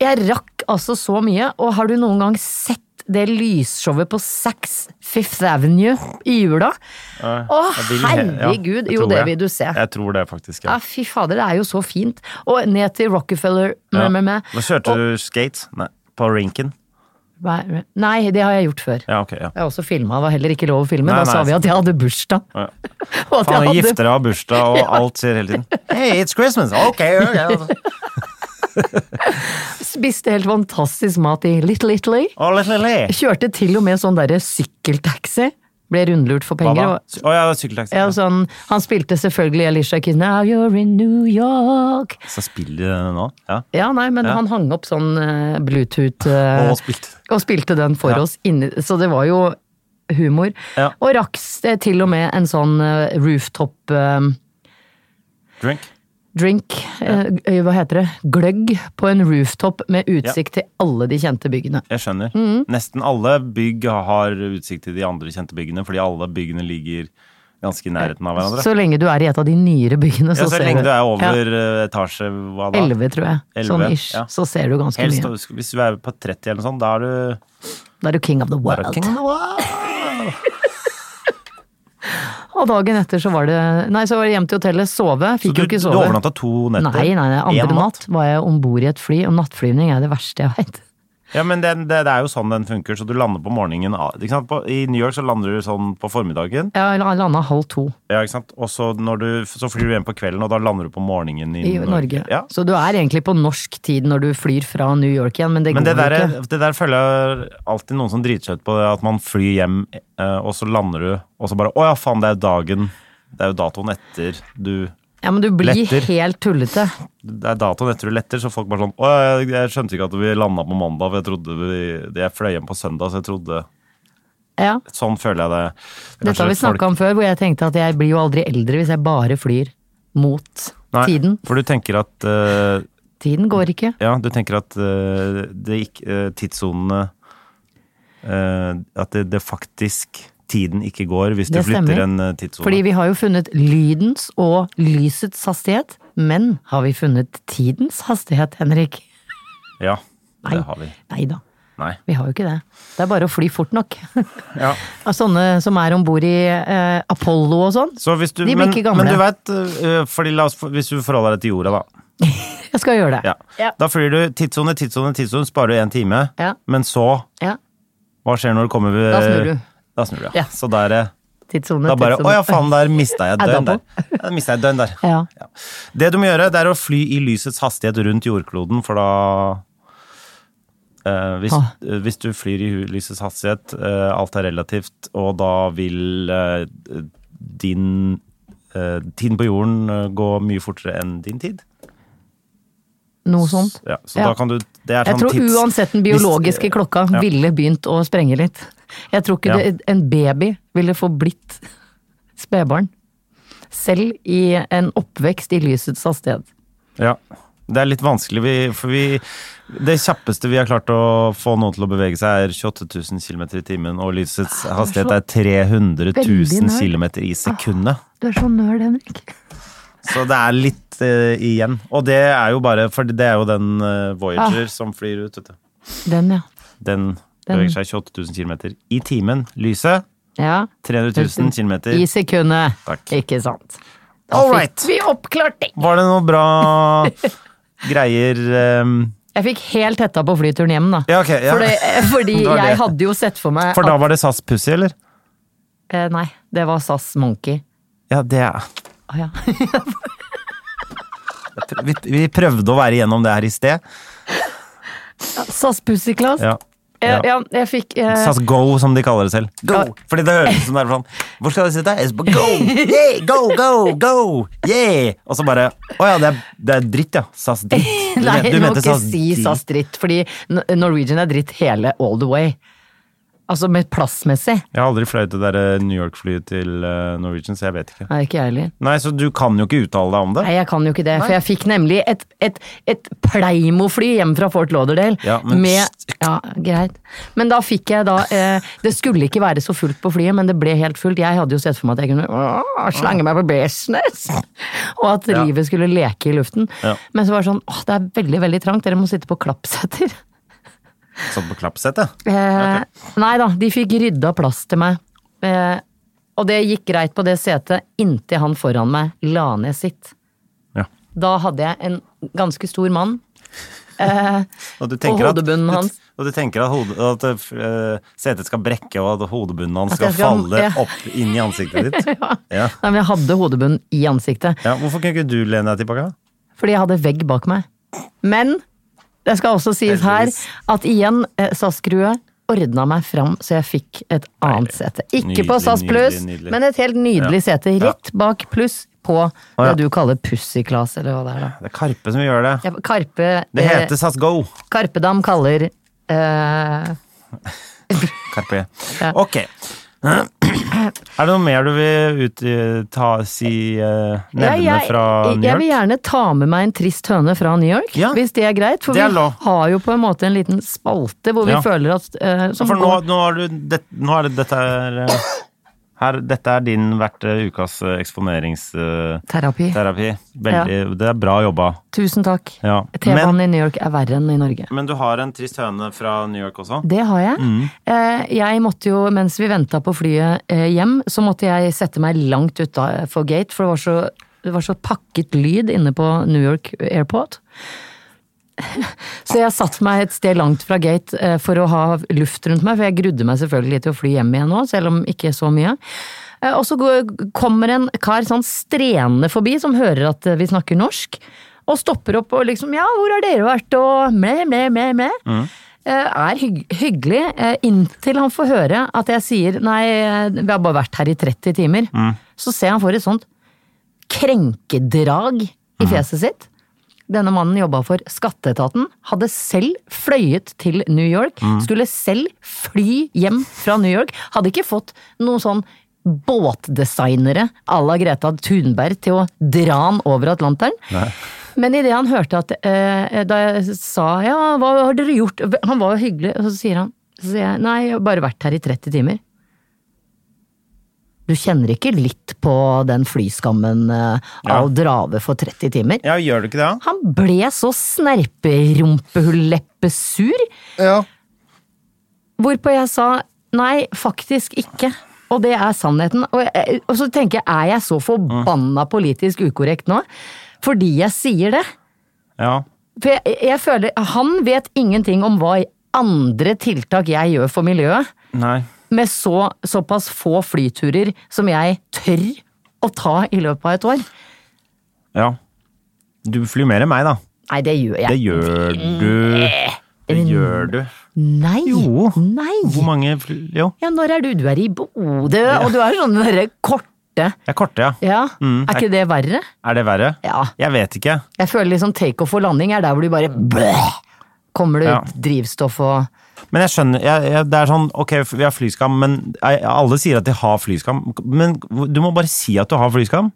Speaker 1: Jeg rakk altså så mye, og har du noen gang sett det lysshowet på Saks Fifth Avenue i jula? Å,
Speaker 2: jeg vil he- ja,
Speaker 1: herregud!
Speaker 2: jeg
Speaker 1: Jo,
Speaker 2: tror
Speaker 1: det
Speaker 2: det.
Speaker 1: vil du se. Ah.
Speaker 2: Jeg tror det, faktisk.
Speaker 1: Ja,
Speaker 2: Ja.
Speaker 1: fy fader, det er jo så fint. Og ned til Rockefeller med,
Speaker 2: Ja.
Speaker 1: med, med.
Speaker 2: Men kjørte du skate? Nei. På rinken?
Speaker 1: Nei, Nei, det har jeg gjort før.
Speaker 2: Ja, ok. ja.
Speaker 1: Jeg har også filma, var heller ikke lov å filme.
Speaker 2: Nei,
Speaker 1: da sa
Speaker 2: nei,
Speaker 1: vi at jeg hadde bursdag.
Speaker 2: Ja.
Speaker 1: Og at
Speaker 2: Faen,
Speaker 1: jeg hadde-
Speaker 2: gifter deg, har bursdag og alt sier hele tiden. Hey, it's Christmas! Ok, ok.
Speaker 1: spiste helt fantastisk mat i Little Italy.
Speaker 2: Oh, le, le, le.
Speaker 1: Kjørte til og med sånn derre sykkeltaxi. Ble rundlurt for
Speaker 2: Hva
Speaker 1: penger.
Speaker 2: da?
Speaker 1: og-
Speaker 2: Å ja, det er sykkeltaxi.
Speaker 1: Ja,
Speaker 2: Ja.
Speaker 1: sånn, han spilte selvfølgelig Alicia Keys Now you're in New York.
Speaker 2: Så spiller de den nå? Ja.
Speaker 1: Ja, nei, men han hang opp sånn eh, Bluetooth eh,
Speaker 2: Og spilte.
Speaker 1: og spilte den for
Speaker 2: Ja.
Speaker 1: oss inni Så det var jo humor.
Speaker 2: Ja.
Speaker 1: Og rakk eh, til og med en sånn eh, rooftop eh,
Speaker 2: Drink.
Speaker 1: drink, eh, g- hva heter det, gløgg på en rooftop med utsikt til alle de kjente byggene.
Speaker 2: Jeg skjønner.
Speaker 1: Mm.
Speaker 2: Nesten alle bygg har utsikt til de andre kjente byggene, fordi alle byggene ligger ganske i nærheten av hverandre.
Speaker 1: Så lenge du er i et av de nyere byggene,
Speaker 2: ja,
Speaker 1: så,
Speaker 2: så
Speaker 1: ser
Speaker 2: lenge du er over
Speaker 1: Ja,
Speaker 2: eh, etasje hva da?
Speaker 1: 11, tror jeg. sånn
Speaker 2: 11,
Speaker 1: ish.
Speaker 2: ja.
Speaker 1: Så ser du ganske
Speaker 2: Helst,
Speaker 1: mye.
Speaker 2: hvis du er på 30 eller noe sånt, da er du
Speaker 1: Da er du king of the
Speaker 2: da er
Speaker 1: world.
Speaker 2: du king.
Speaker 1: Og dagen etter så var det Nei, så var det hjem til hotellet, sove.
Speaker 2: Så
Speaker 1: Fikk
Speaker 2: du,
Speaker 1: jo ikke
Speaker 2: du
Speaker 1: sove.
Speaker 2: overnatta to netter?
Speaker 1: Nei, nei, nei.
Speaker 2: En
Speaker 1: Andre natt var jeg om bord i et fly, og nattflyvning er det verste jeg veit.
Speaker 2: Ja, men den, det, det er jo sånn den funker, så du lander på morgenen. av- Ikke sant? På, I New York så lander du sånn på formiddagen,
Speaker 1: Jeg landa halv to
Speaker 2: ja, ikke sant? og så, når du, så flyr du hjem på kvelden, og da lander du på morgenen i,
Speaker 1: i Norge.
Speaker 2: Ja.
Speaker 1: Så du er egentlig på norsk tid når du flyr fra New York igjen, men det
Speaker 2: Men
Speaker 1: går
Speaker 2: det der,
Speaker 1: jo ikke.
Speaker 2: det der føler jeg alltid noen som driter seg ut på, det, at man flyr hjem, eh, og så lander du, og så bare Å ja, faen, det er jo dagen. Det er jo datoen etter du
Speaker 1: Ja, men du blir
Speaker 2: Letter.
Speaker 1: helt tullete.
Speaker 2: Det er datoen etter du letter, så folk bare sånn Å ja, jeg- jeg skjønte ikke at vi landa på mandag, for jeg trodde vi Jeg fløy hjem på søndag, så jeg trodde
Speaker 1: Ja.
Speaker 2: Sånn føler jeg det.
Speaker 1: Dette har vi snakka om før, hvor jeg tenkte at jeg blir jo aldri eldre hvis jeg bare flyr mot tiden.
Speaker 2: For du tenker at eh,
Speaker 1: Tiden går ikke.
Speaker 2: Ja, du tenker at eh, det ikke eh, Tidssonene eh, At det, det faktisk Tiden ikke går hvis du
Speaker 1: Det stemmer.
Speaker 2: flytter en eh, tidssone.
Speaker 1: Fordi vi har jo funnet lydens og lysets hastighet, men har vi funnet tidens hastighet, Henrik?
Speaker 2: Ja,
Speaker 1: Nei.
Speaker 2: det har vi.
Speaker 1: Nei da,
Speaker 2: Nei.
Speaker 1: vi har jo ikke det. Det er bare å fly fort nok.
Speaker 2: Ja.
Speaker 1: Av sånne som er om bord i eh, Apollo og sånn.
Speaker 2: Så hvis du,
Speaker 1: De blir
Speaker 2: men,
Speaker 1: ikke gamle.
Speaker 2: men du vet, øh, fordi la oss, hvis du forholder deg til jorda, da.
Speaker 1: Jeg skal gjøre det.
Speaker 2: Ja. Da flyr du tidssone, tidssone, tidssone, sparer du én time.
Speaker 1: Ja.
Speaker 2: Men så,
Speaker 1: Ja.
Speaker 2: hva skjer når du kommer ved
Speaker 1: Da snur du.
Speaker 2: Da snur du, ja.
Speaker 1: Ja.
Speaker 2: Så da er det
Speaker 1: Tidssone,
Speaker 2: da bare Å
Speaker 1: tidssone.
Speaker 2: ja, faen, der mista jeg et
Speaker 1: Er
Speaker 2: døgn
Speaker 1: det
Speaker 2: der. Ja, Da mistet jeg et døgn der.
Speaker 1: Ja.
Speaker 2: Ja. Det du må gjøre, det er å fly i lysets hastighet rundt jordkloden, for da eh, hvis,
Speaker 1: Ah.
Speaker 2: eh, hvis du flyr i hu- lysets hastighet, eh, alt er relativt, og da vil eh, din eh, Tiden på jorden eh, gå mye fortere enn din tid.
Speaker 1: Noe sånt.
Speaker 2: Ja, så
Speaker 1: Ja.
Speaker 2: da kan du Det er
Speaker 1: Jeg
Speaker 2: sånn
Speaker 1: tror
Speaker 2: tids...
Speaker 1: uansett den biologiske
Speaker 2: Hvis-
Speaker 1: klokka
Speaker 2: ja.
Speaker 1: ville begynt å sprenge litt. Jeg tror ikke
Speaker 2: Ja.
Speaker 1: det, en baby ville få blitt spedbarn. Selv i en oppvekst i lysets hastighet.
Speaker 2: Ja. Det er litt vanskelig, vi, for vi Det kjappeste vi har klart å få noen til å bevege seg, er 28 000 km i timen, og lysets
Speaker 1: Ah,
Speaker 2: hastighet er 300
Speaker 1: Veldig Ah.
Speaker 2: 000
Speaker 1: nær.
Speaker 2: km i sekundet.
Speaker 1: Du er så nerd, Henrik.
Speaker 2: Så det er litt eh, igjen. Og det er jo bare For det er jo den eh, Voyager som flyr ut, vet du.
Speaker 1: Den, ja.
Speaker 2: Den,
Speaker 1: Ah. Den.
Speaker 2: beveger seg 28 000 km i timen. Lyset
Speaker 1: ja.
Speaker 2: 300 000 km.
Speaker 1: I sekundet.
Speaker 2: Takk.
Speaker 1: Ikke sant. Da
Speaker 2: All
Speaker 1: fikk
Speaker 2: right!
Speaker 1: Vi oppklart det!
Speaker 2: Var det noe bra greier ehm,
Speaker 1: Jeg fikk helt hetta på flyturen hjem, da.
Speaker 2: Ja, ok. Ja.
Speaker 1: Fordi, fordi
Speaker 2: Det var det.
Speaker 1: jeg hadde jo sett for meg
Speaker 2: For da var det SAS Pussy, eller?
Speaker 1: at eh, Nei, det var SAS Monkey.
Speaker 2: Ja, det er
Speaker 1: Å ja.
Speaker 2: vi, vi prøvde å være igjennom det her i sted.
Speaker 1: SAS Pussyclass.
Speaker 2: Ja.
Speaker 1: Ja.
Speaker 2: Ja.
Speaker 1: ja, jeg fikk eh,
Speaker 2: SAS Go, som de kaller det selv.
Speaker 1: Ja.
Speaker 2: Go! Fordi det høres ut som det er sånn Hvor skal jeg sitte? Jeg skal på Go! Yeah, go, go, go! Yeah! Og så bare Å ja, det er, det er dritt, ja. SAS dritt. Du, sånn
Speaker 1: Nei,
Speaker 2: men-
Speaker 1: du må ikke si
Speaker 2: dritt.
Speaker 1: SAS dritt, fordi N- Norwegian er dritt hele all the way. Altså med plassmessig.
Speaker 2: Jeg har aldri fløyet det der eh, New York-flyet til eh, Norwegian, så jeg vet ikke.
Speaker 1: Nei, ikke jeg heller.
Speaker 2: Nei, så du kan jo ikke uttale deg om det.
Speaker 1: Nei, jeg kan jo ikke det, for jeg fikk nemlig et, et, et Pleimo-fly hjem fra Fort Lauderdale.
Speaker 2: Ja, men-
Speaker 1: med, ja, greit. Men da fikk jeg da eh, Det skulle ikke være så fullt på flyet, men det ble helt fullt. Jeg hadde jo sett for meg at jeg kunne åh, slange meg på business! Og at livet skulle leke i luften.
Speaker 2: Ja.
Speaker 1: Men så var det sånn åh, det er veldig, veldig trangt, dere må sitte på klappsetter.
Speaker 2: Satt på klappsettet.
Speaker 1: Eh, Nei da, de fikk rydda plass til meg. Eh, og det gikk greit på det setet inntil han foran meg la ned sitt.
Speaker 2: Ja.
Speaker 1: Da hadde jeg en ganske stor mann. Eh,
Speaker 2: Og, du tenker at-
Speaker 1: hodebunnen hans.
Speaker 2: Og du tenker at, hode, at eh, setet skal brekke, og at hodebunnen hans
Speaker 1: At
Speaker 2: skal,
Speaker 1: jeg skal-
Speaker 2: falle
Speaker 1: ja.
Speaker 2: opp inn i ansiktet ditt. ja. Ja.
Speaker 1: Nei, men Jeg hadde hodebunnen i ansiktet,
Speaker 2: Hvorfor kunne ikke du lene deg tilbake? da?
Speaker 1: fordi jeg hadde vegg bak meg. Men det skal også sies her
Speaker 2: Heldigvis.
Speaker 1: at igjen, eh, SAS Grue ordna meg fram så jeg fikk et annet sete. Ikke på
Speaker 2: nydelig,
Speaker 1: SAS Pluss,
Speaker 2: nydelig, nydelig.
Speaker 1: men et helt nydelig sete rett bak pluss på
Speaker 2: Å, ja.
Speaker 1: det du kaller pussy-class, eller hva det er. da.
Speaker 2: Det er Karpe som gjør det.
Speaker 1: Ja, Karpe
Speaker 2: Det
Speaker 1: eh,
Speaker 2: heter SAS Go.
Speaker 1: Karpedam kaller eh,
Speaker 2: Karpe. Ok. Er det noe mer du vil ut, ta, si, eh,
Speaker 1: ja,
Speaker 2: nevne
Speaker 1: jeg,
Speaker 2: fra New
Speaker 1: jeg vil
Speaker 2: York?
Speaker 1: gjerne ta med meg en trist høne fra New York,
Speaker 2: Ja,
Speaker 1: hvis det er greit. For
Speaker 2: det er
Speaker 1: vi
Speaker 2: lov.
Speaker 1: har jo på en måte en liten spalte hvor vi
Speaker 2: Ja.
Speaker 1: føler at eh, som
Speaker 2: For nå,
Speaker 1: går-
Speaker 2: nå, har du, det, nå er det dette er, eh, her, Dette er din hvert eh, ukas eh, eksponeringsterapi.
Speaker 1: Terapi.
Speaker 2: Veldig, Det er bra jobba.
Speaker 1: Tusen takk.
Speaker 2: Ja.
Speaker 1: TV-en
Speaker 2: Men,
Speaker 1: i New York er verre enn i Norge.
Speaker 2: men du har en trist høne fra New York også?
Speaker 1: Det har jeg.
Speaker 2: Mm.
Speaker 1: Eh, jeg måtte jo, mens vi venta på flyet eh, hjem, så måtte jeg sette meg langt utafor gate, for det var, så, det var så pakket lyd inne på New York Airport. Så jeg satte meg et sted langt fra gate eh, for å ha luft rundt meg, for jeg grudde meg selvfølgelig til å fly hjem igjen nå, selv om ikke så mye. Eh, Og så går- kommer en kar sånn strenende forbi, som hører at eh, vi snakker norsk, og stopper opp og liksom 'ja, hvor har dere vært', og mle, mle, mle, mle. Eh, Er hygg hyggelig, eh, inntil han får høre at jeg sier 'nei, eh, vi har bare vært her i 30 timer'. Så ser han for et sånt krenkedrag i fjeset sitt. Denne mannen jobba for skatteetaten, hadde selv fløyet til New York, skulle selv fly hjem fra New York. Hadde ikke fått noen sånn båtdesignere à la Greta Thunberg til å dra han over Atlanteren. Men idet han hørte at eh, Da jeg sa ja, hva har dere gjort? Han var jo hyggelig, og så sier han så sier jeg, Nei, jeg har bare vært her i 30 timer. Du kjenner ikke litt på den flyskammen eh, av å dra over for 30 timer?
Speaker 2: Ja, gjør du ikke det? da?
Speaker 1: Han ble så snerperumpehull-leppesur. Hvorpå jeg sa nei, faktisk ikke. Og det er sannheten. Og, jeg, eh, og så tenker jeg, er jeg så forbanna politisk ukorrekt nå? Fordi jeg sier det?
Speaker 2: Ja.
Speaker 1: For jeg, jeg føler Han vet ingenting om hva andre tiltak jeg gjør for miljøet,
Speaker 2: Nei.
Speaker 1: med så, såpass få flyturer som jeg tør å ta i løpet av et år.
Speaker 2: Ja. Du flyr mer enn meg, da.
Speaker 1: Nei, det gjør jeg.
Speaker 2: Det gjør du. Det gjør du.
Speaker 1: Nei!
Speaker 2: Jo.
Speaker 1: Nei!
Speaker 2: Hvor mange fly... Jo.
Speaker 1: Ja, når er du? Du er i Bodø, og du er sånn derre korte
Speaker 2: Jeg er korte, ja.
Speaker 1: Ja,
Speaker 2: Mm,
Speaker 1: er ikke det verre?
Speaker 2: Er det verre?
Speaker 1: Ja.
Speaker 2: Jeg vet ikke.
Speaker 1: Jeg føler liksom takeoff og landing er der hvor du bare bleh, Kommer det
Speaker 2: Ja.
Speaker 1: ut drivstoff og
Speaker 2: Men jeg skjønner jeg, jeg, Det er sånn, ok, vi har flyskam, men jeg, alle sier at de har flyskam. Men du må bare si at du har flyskam.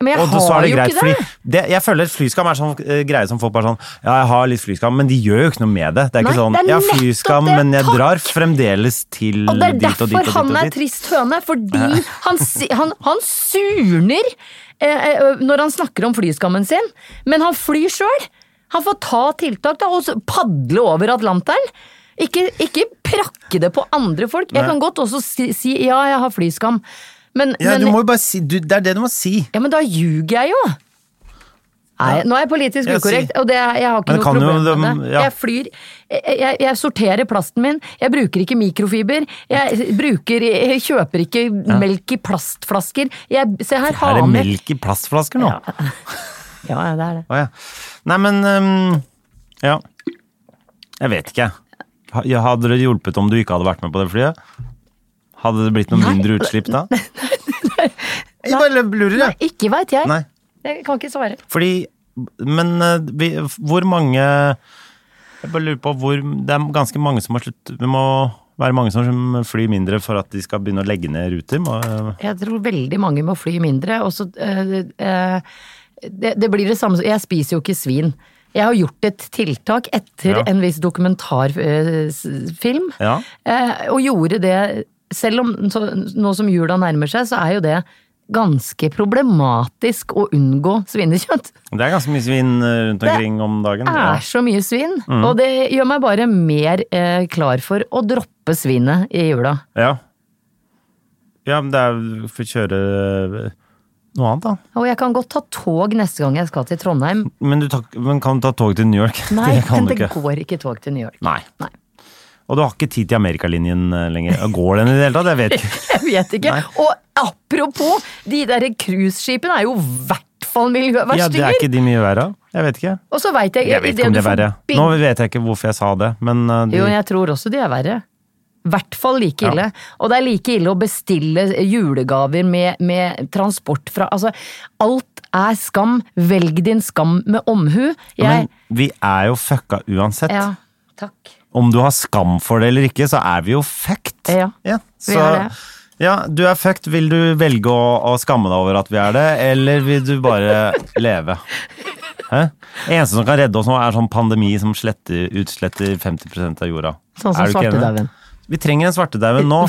Speaker 1: Men jeg
Speaker 2: Og så
Speaker 1: har
Speaker 2: er det
Speaker 1: jo
Speaker 2: greit,
Speaker 1: ikke det!
Speaker 2: fordi det, jeg føler at flyskam er sånn eh, greie som folk bare sånn Ja, jeg har litt flyskam, men de gjør jo ikke noe med det. Det er
Speaker 1: Nei,
Speaker 2: ikke sånn
Speaker 1: det er
Speaker 2: Jeg
Speaker 1: nettopp
Speaker 2: har flyskam,
Speaker 1: det.
Speaker 2: men jeg
Speaker 1: Takk.
Speaker 2: drar fremdeles til
Speaker 1: Og det er
Speaker 2: dit og dit og
Speaker 1: derfor
Speaker 2: dit.
Speaker 1: han
Speaker 2: og
Speaker 1: er
Speaker 2: dit.
Speaker 1: trist høne, fordi han, si- han, han surner eh, eh, når han snakker om flyskammen sin, men han flyr sjøl. Han får ta tiltak da, og så padle over Atlanteren. Ikke, ikke prakke det på andre folk. Jeg
Speaker 2: Nei.
Speaker 1: kan godt også si, si ja, jeg har flyskam, men,
Speaker 2: Ja,
Speaker 1: men
Speaker 2: du må jo bare si du, Det er det du må si.
Speaker 1: Ja, men da ljuger jeg jo! Nei, nå er jeg politisk
Speaker 2: Ja, si.
Speaker 1: ukorrekt, og det, er- jeg har ikke
Speaker 2: Men
Speaker 1: noe
Speaker 2: kan jo
Speaker 1: problem med
Speaker 2: dem-
Speaker 1: det.
Speaker 2: ja.
Speaker 1: Jeg flyr, jeg, jeg, jeg sorterer plasten min, jeg bruker ikke mikrofiber, jeg, bruker, jeg kjøper ikke melk i plastflasker. Jeg, se her,
Speaker 2: Er det
Speaker 1: haner.
Speaker 2: melk i plastflasker nå? Å
Speaker 1: Ja, det er det.
Speaker 2: ja. Nei, men ehm, Ja. Jeg vet ikke. Ha- ja, Hadde det hjulpet om du ikke hadde vært med på det flyet? Hadde det blitt noe
Speaker 1: Nei.
Speaker 2: mindre utslipp da? Jeg bare lurer, jeg.
Speaker 1: Ikke veit jeg.
Speaker 2: Nei.
Speaker 1: Jeg kan ikke svare.
Speaker 2: Fordi Men eh, vi, hvor mange Jeg bare lurer på hvor Det er ganske mange som har slutt Vi må være mange som flyr mindre for at de skal begynne å legge ned ruter. Må,
Speaker 1: Jeg tror veldig mange må fly mindre. Og så eh, eh, det, det blir det samme som Jeg spiser jo ikke svin. Jeg har gjort et tiltak etter
Speaker 2: Ja.
Speaker 1: en viss eh, dokumentarfilm,
Speaker 2: Ja.
Speaker 1: eh, og gjorde det Selv om så, nå som jula nærmer seg, så er jo det ganske problematisk å unngå svinekjøtt.
Speaker 2: det er ganske mye svinn eh, rundt omkring om dagen.
Speaker 1: Det
Speaker 2: ja. Mm.
Speaker 1: er så mye svin, og det gjør meg bare mer eh, klar for å droppe svinet i jula.
Speaker 2: Ja. ja, men det er jo for å kjøre eh, noe annet, da.
Speaker 1: Og jeg kan godt ta tog neste gang jeg skal til Trondheim.
Speaker 2: Men, du tar, men kan du ta tog til New York?
Speaker 1: Nei,
Speaker 2: det kan
Speaker 1: men
Speaker 2: du
Speaker 1: det
Speaker 2: ikke.
Speaker 1: går ikke tog til New York.
Speaker 2: Nei.
Speaker 1: Nei.
Speaker 2: Og du har ikke tid til Amerikalinjen eh, lenger. Går den i det hele tatt? Jeg vet ikke.
Speaker 1: Jeg vet ikke. Og apropos, de der cruiseskipene er jo i hvert fall
Speaker 2: Ja, det er
Speaker 1: miljøverstinger!
Speaker 2: ikke de mye verre. Jeg vet ikke.
Speaker 1: og så veit jeg,
Speaker 2: Jeg vet
Speaker 1: i det
Speaker 2: ikke om
Speaker 1: du
Speaker 2: det er
Speaker 1: får
Speaker 2: verre.
Speaker 1: bing-
Speaker 2: Nå vet jeg ikke hvorfor jeg sa det, men eh, de,
Speaker 1: Jo, jeg tror også de er verre. I hvert fall like
Speaker 2: Ja.
Speaker 1: ille. Og det er like ille å bestille julegaver med, med transport fra Altså, alt er skam. Velg din skam med omhu. Jeg
Speaker 2: Men vi er jo fucka uansett.
Speaker 1: Ja, takk.
Speaker 2: Om du har skam for det eller ikke, så er vi jo fucked.
Speaker 1: Ja, vi
Speaker 2: så,
Speaker 1: er det.
Speaker 2: Ja, du er fucked. Vil du velge å, å skamme deg over at vi er det, eller vil du bare leve? Hæ? Det eneste som kan redde oss nå, er sånn pandemi som sletter, utsletter 50 av jorda.
Speaker 1: Sånn som
Speaker 2: Er du ikke enig?
Speaker 1: svartedauden.
Speaker 2: Vi trenger en svartedauen nå.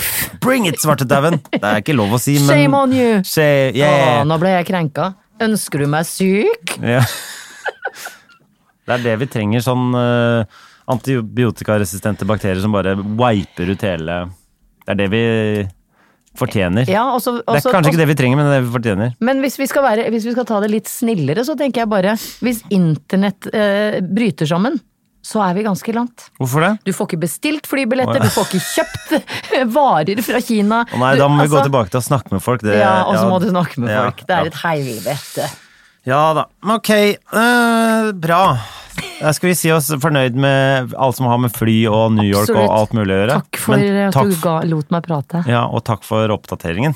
Speaker 2: Bring it, svartedauden! Det er ikke lov å si, men
Speaker 1: Shame on you!
Speaker 2: Shame- yeah.
Speaker 1: Å, nå ble jeg krenka. Ønsker du meg syk?
Speaker 2: Ja. Det er det vi trenger, sånn eh, antibiotikaresistente bakterier som bare wiper ut hele Det er det vi fortjener.
Speaker 1: Ja, og så- og
Speaker 2: det er
Speaker 1: så-
Speaker 2: kanskje
Speaker 1: og-
Speaker 2: ikke det vi trenger, men det er det vi fortjener.
Speaker 1: Men hvis vi, skal være, hvis vi skal ta det litt snillere, så tenker jeg bare Hvis internett eh, bryter sammen, så er vi ganske langt.
Speaker 2: Hvorfor det?
Speaker 1: Du får ikke bestilt flybilletter, du får ikke kjøpt varer fra Kina.
Speaker 2: Å nei,
Speaker 1: Du-
Speaker 2: da må vi gå
Speaker 1: altså,
Speaker 2: tilbake til å snakke med folk. Det,
Speaker 1: Ja, og så
Speaker 2: ja,
Speaker 1: må du snakke med
Speaker 2: ja,
Speaker 1: folk. Det
Speaker 2: ja.
Speaker 1: er et helvete.
Speaker 2: Ja da. Men Ok, eh, bra. Da skal vi si oss fornøyd med alt som har med fly og New York
Speaker 1: Absolutt.
Speaker 2: og alt mulig å gjøre.
Speaker 1: Takk for
Speaker 2: Men
Speaker 1: at
Speaker 2: takk
Speaker 1: du ga, lot meg prate.
Speaker 2: f- Ja, og takk for oppdateringen.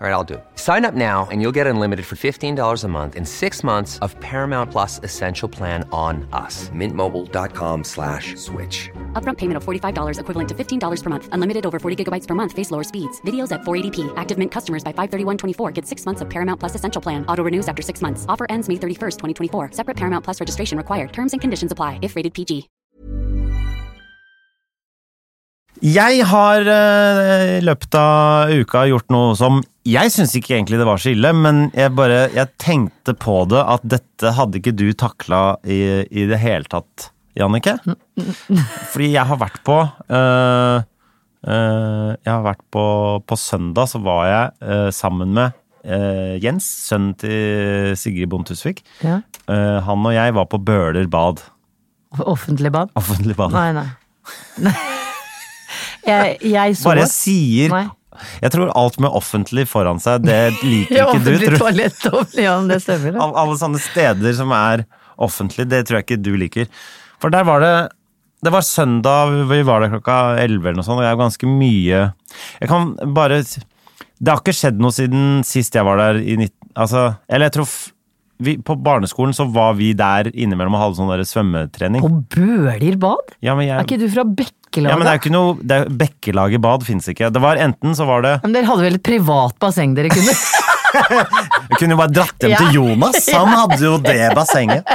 Speaker 3: All right, I'll do it. Sign up now and you'll get unlimited for $15 a month in six months of Paramount Plus Essential Plan on us. Mintmobile.com slash switch.
Speaker 4: Upfront payment of $45 equivalent to $15 per month. Unlimited over 40 gigabytes per month. Face lower speeds. Videos at 480p. Active Mint customers by 531.24 get six months of Paramount Plus Essential Plan. Auto renews after six months. Offer ends May 31st, 2024. Separate Paramount Plus registration required. Terms and conditions apply if rated PG.
Speaker 2: Jeg har eh, i løpet av uka gjort noe som jeg syns ikke egentlig det var så ille, men jeg bare jeg tenkte på det at dette hadde ikke du takla i, i det hele tatt, Jannicke. Fordi jeg har vært på eh, eh, Jeg har vært på På søndag så var jeg eh, sammen med eh, Jens, sønnen til Sigrid Bonde Tusvik.
Speaker 1: Ja.
Speaker 2: Eh, han og jeg var på Bøler bad.
Speaker 1: Offentlig bad?
Speaker 2: Offentlig bad.
Speaker 1: Nei, nei. Nei. Jeg, jeg så
Speaker 2: Bare jeg sier
Speaker 1: Nei.
Speaker 2: Jeg tror alt med offentlig foran seg, det liker
Speaker 1: Ja,
Speaker 2: ikke du.
Speaker 1: offentlig
Speaker 2: Tror.
Speaker 1: toalett offentlig- Ja, det stemmer. det.
Speaker 2: Alle, alle sånne steder som er offentlig, det tror jeg ikke du liker. For der var det Det var søndag, vi var der klokka elleve eller noe sånt, og jeg er ganske mye Jeg kan bare s- Det har ikke skjedd noe siden sist jeg var der i 19... Altså, eller jeg tror f- vi, På barneskolen så var vi der innimellom og hadde sånn der svømmetrening.
Speaker 1: På Bøler bad?
Speaker 2: Ja, men jeg-
Speaker 1: Er ikke du fra Bekkelaget?
Speaker 2: Ja, men det er jo ikke noe det er, Bekkelaget bad fins ikke. Det var enten så var det
Speaker 1: Men dere hadde vel et privat basseng dere kunne
Speaker 2: Jeg kunne jo bare dratt hjem
Speaker 1: Ja.
Speaker 2: til Jonas. Han hadde jo det bassenget.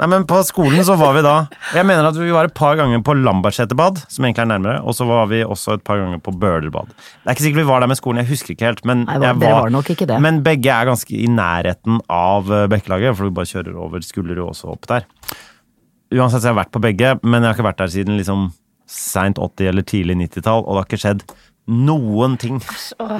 Speaker 2: Nei, men På skolen så var vi da Jeg mener at vi var et par ganger på Lambertseterbad, som egentlig er nærmere, og så var vi også et par ganger på Bølerbad. Det er ikke sikkert vi var der med skolen, jeg husker ikke helt, men
Speaker 1: Nei, dere
Speaker 2: jeg
Speaker 1: var nok ikke det.
Speaker 2: Men begge er ganske i nærheten av eh, Bekkelaget, for du bare kjører over Skullerud og også opp der. Uansett så har jeg vært på begge, men jeg har ikke vært der siden liksom seint 80- eller tidlig 90-tall, og det har ikke skjedd noen ting.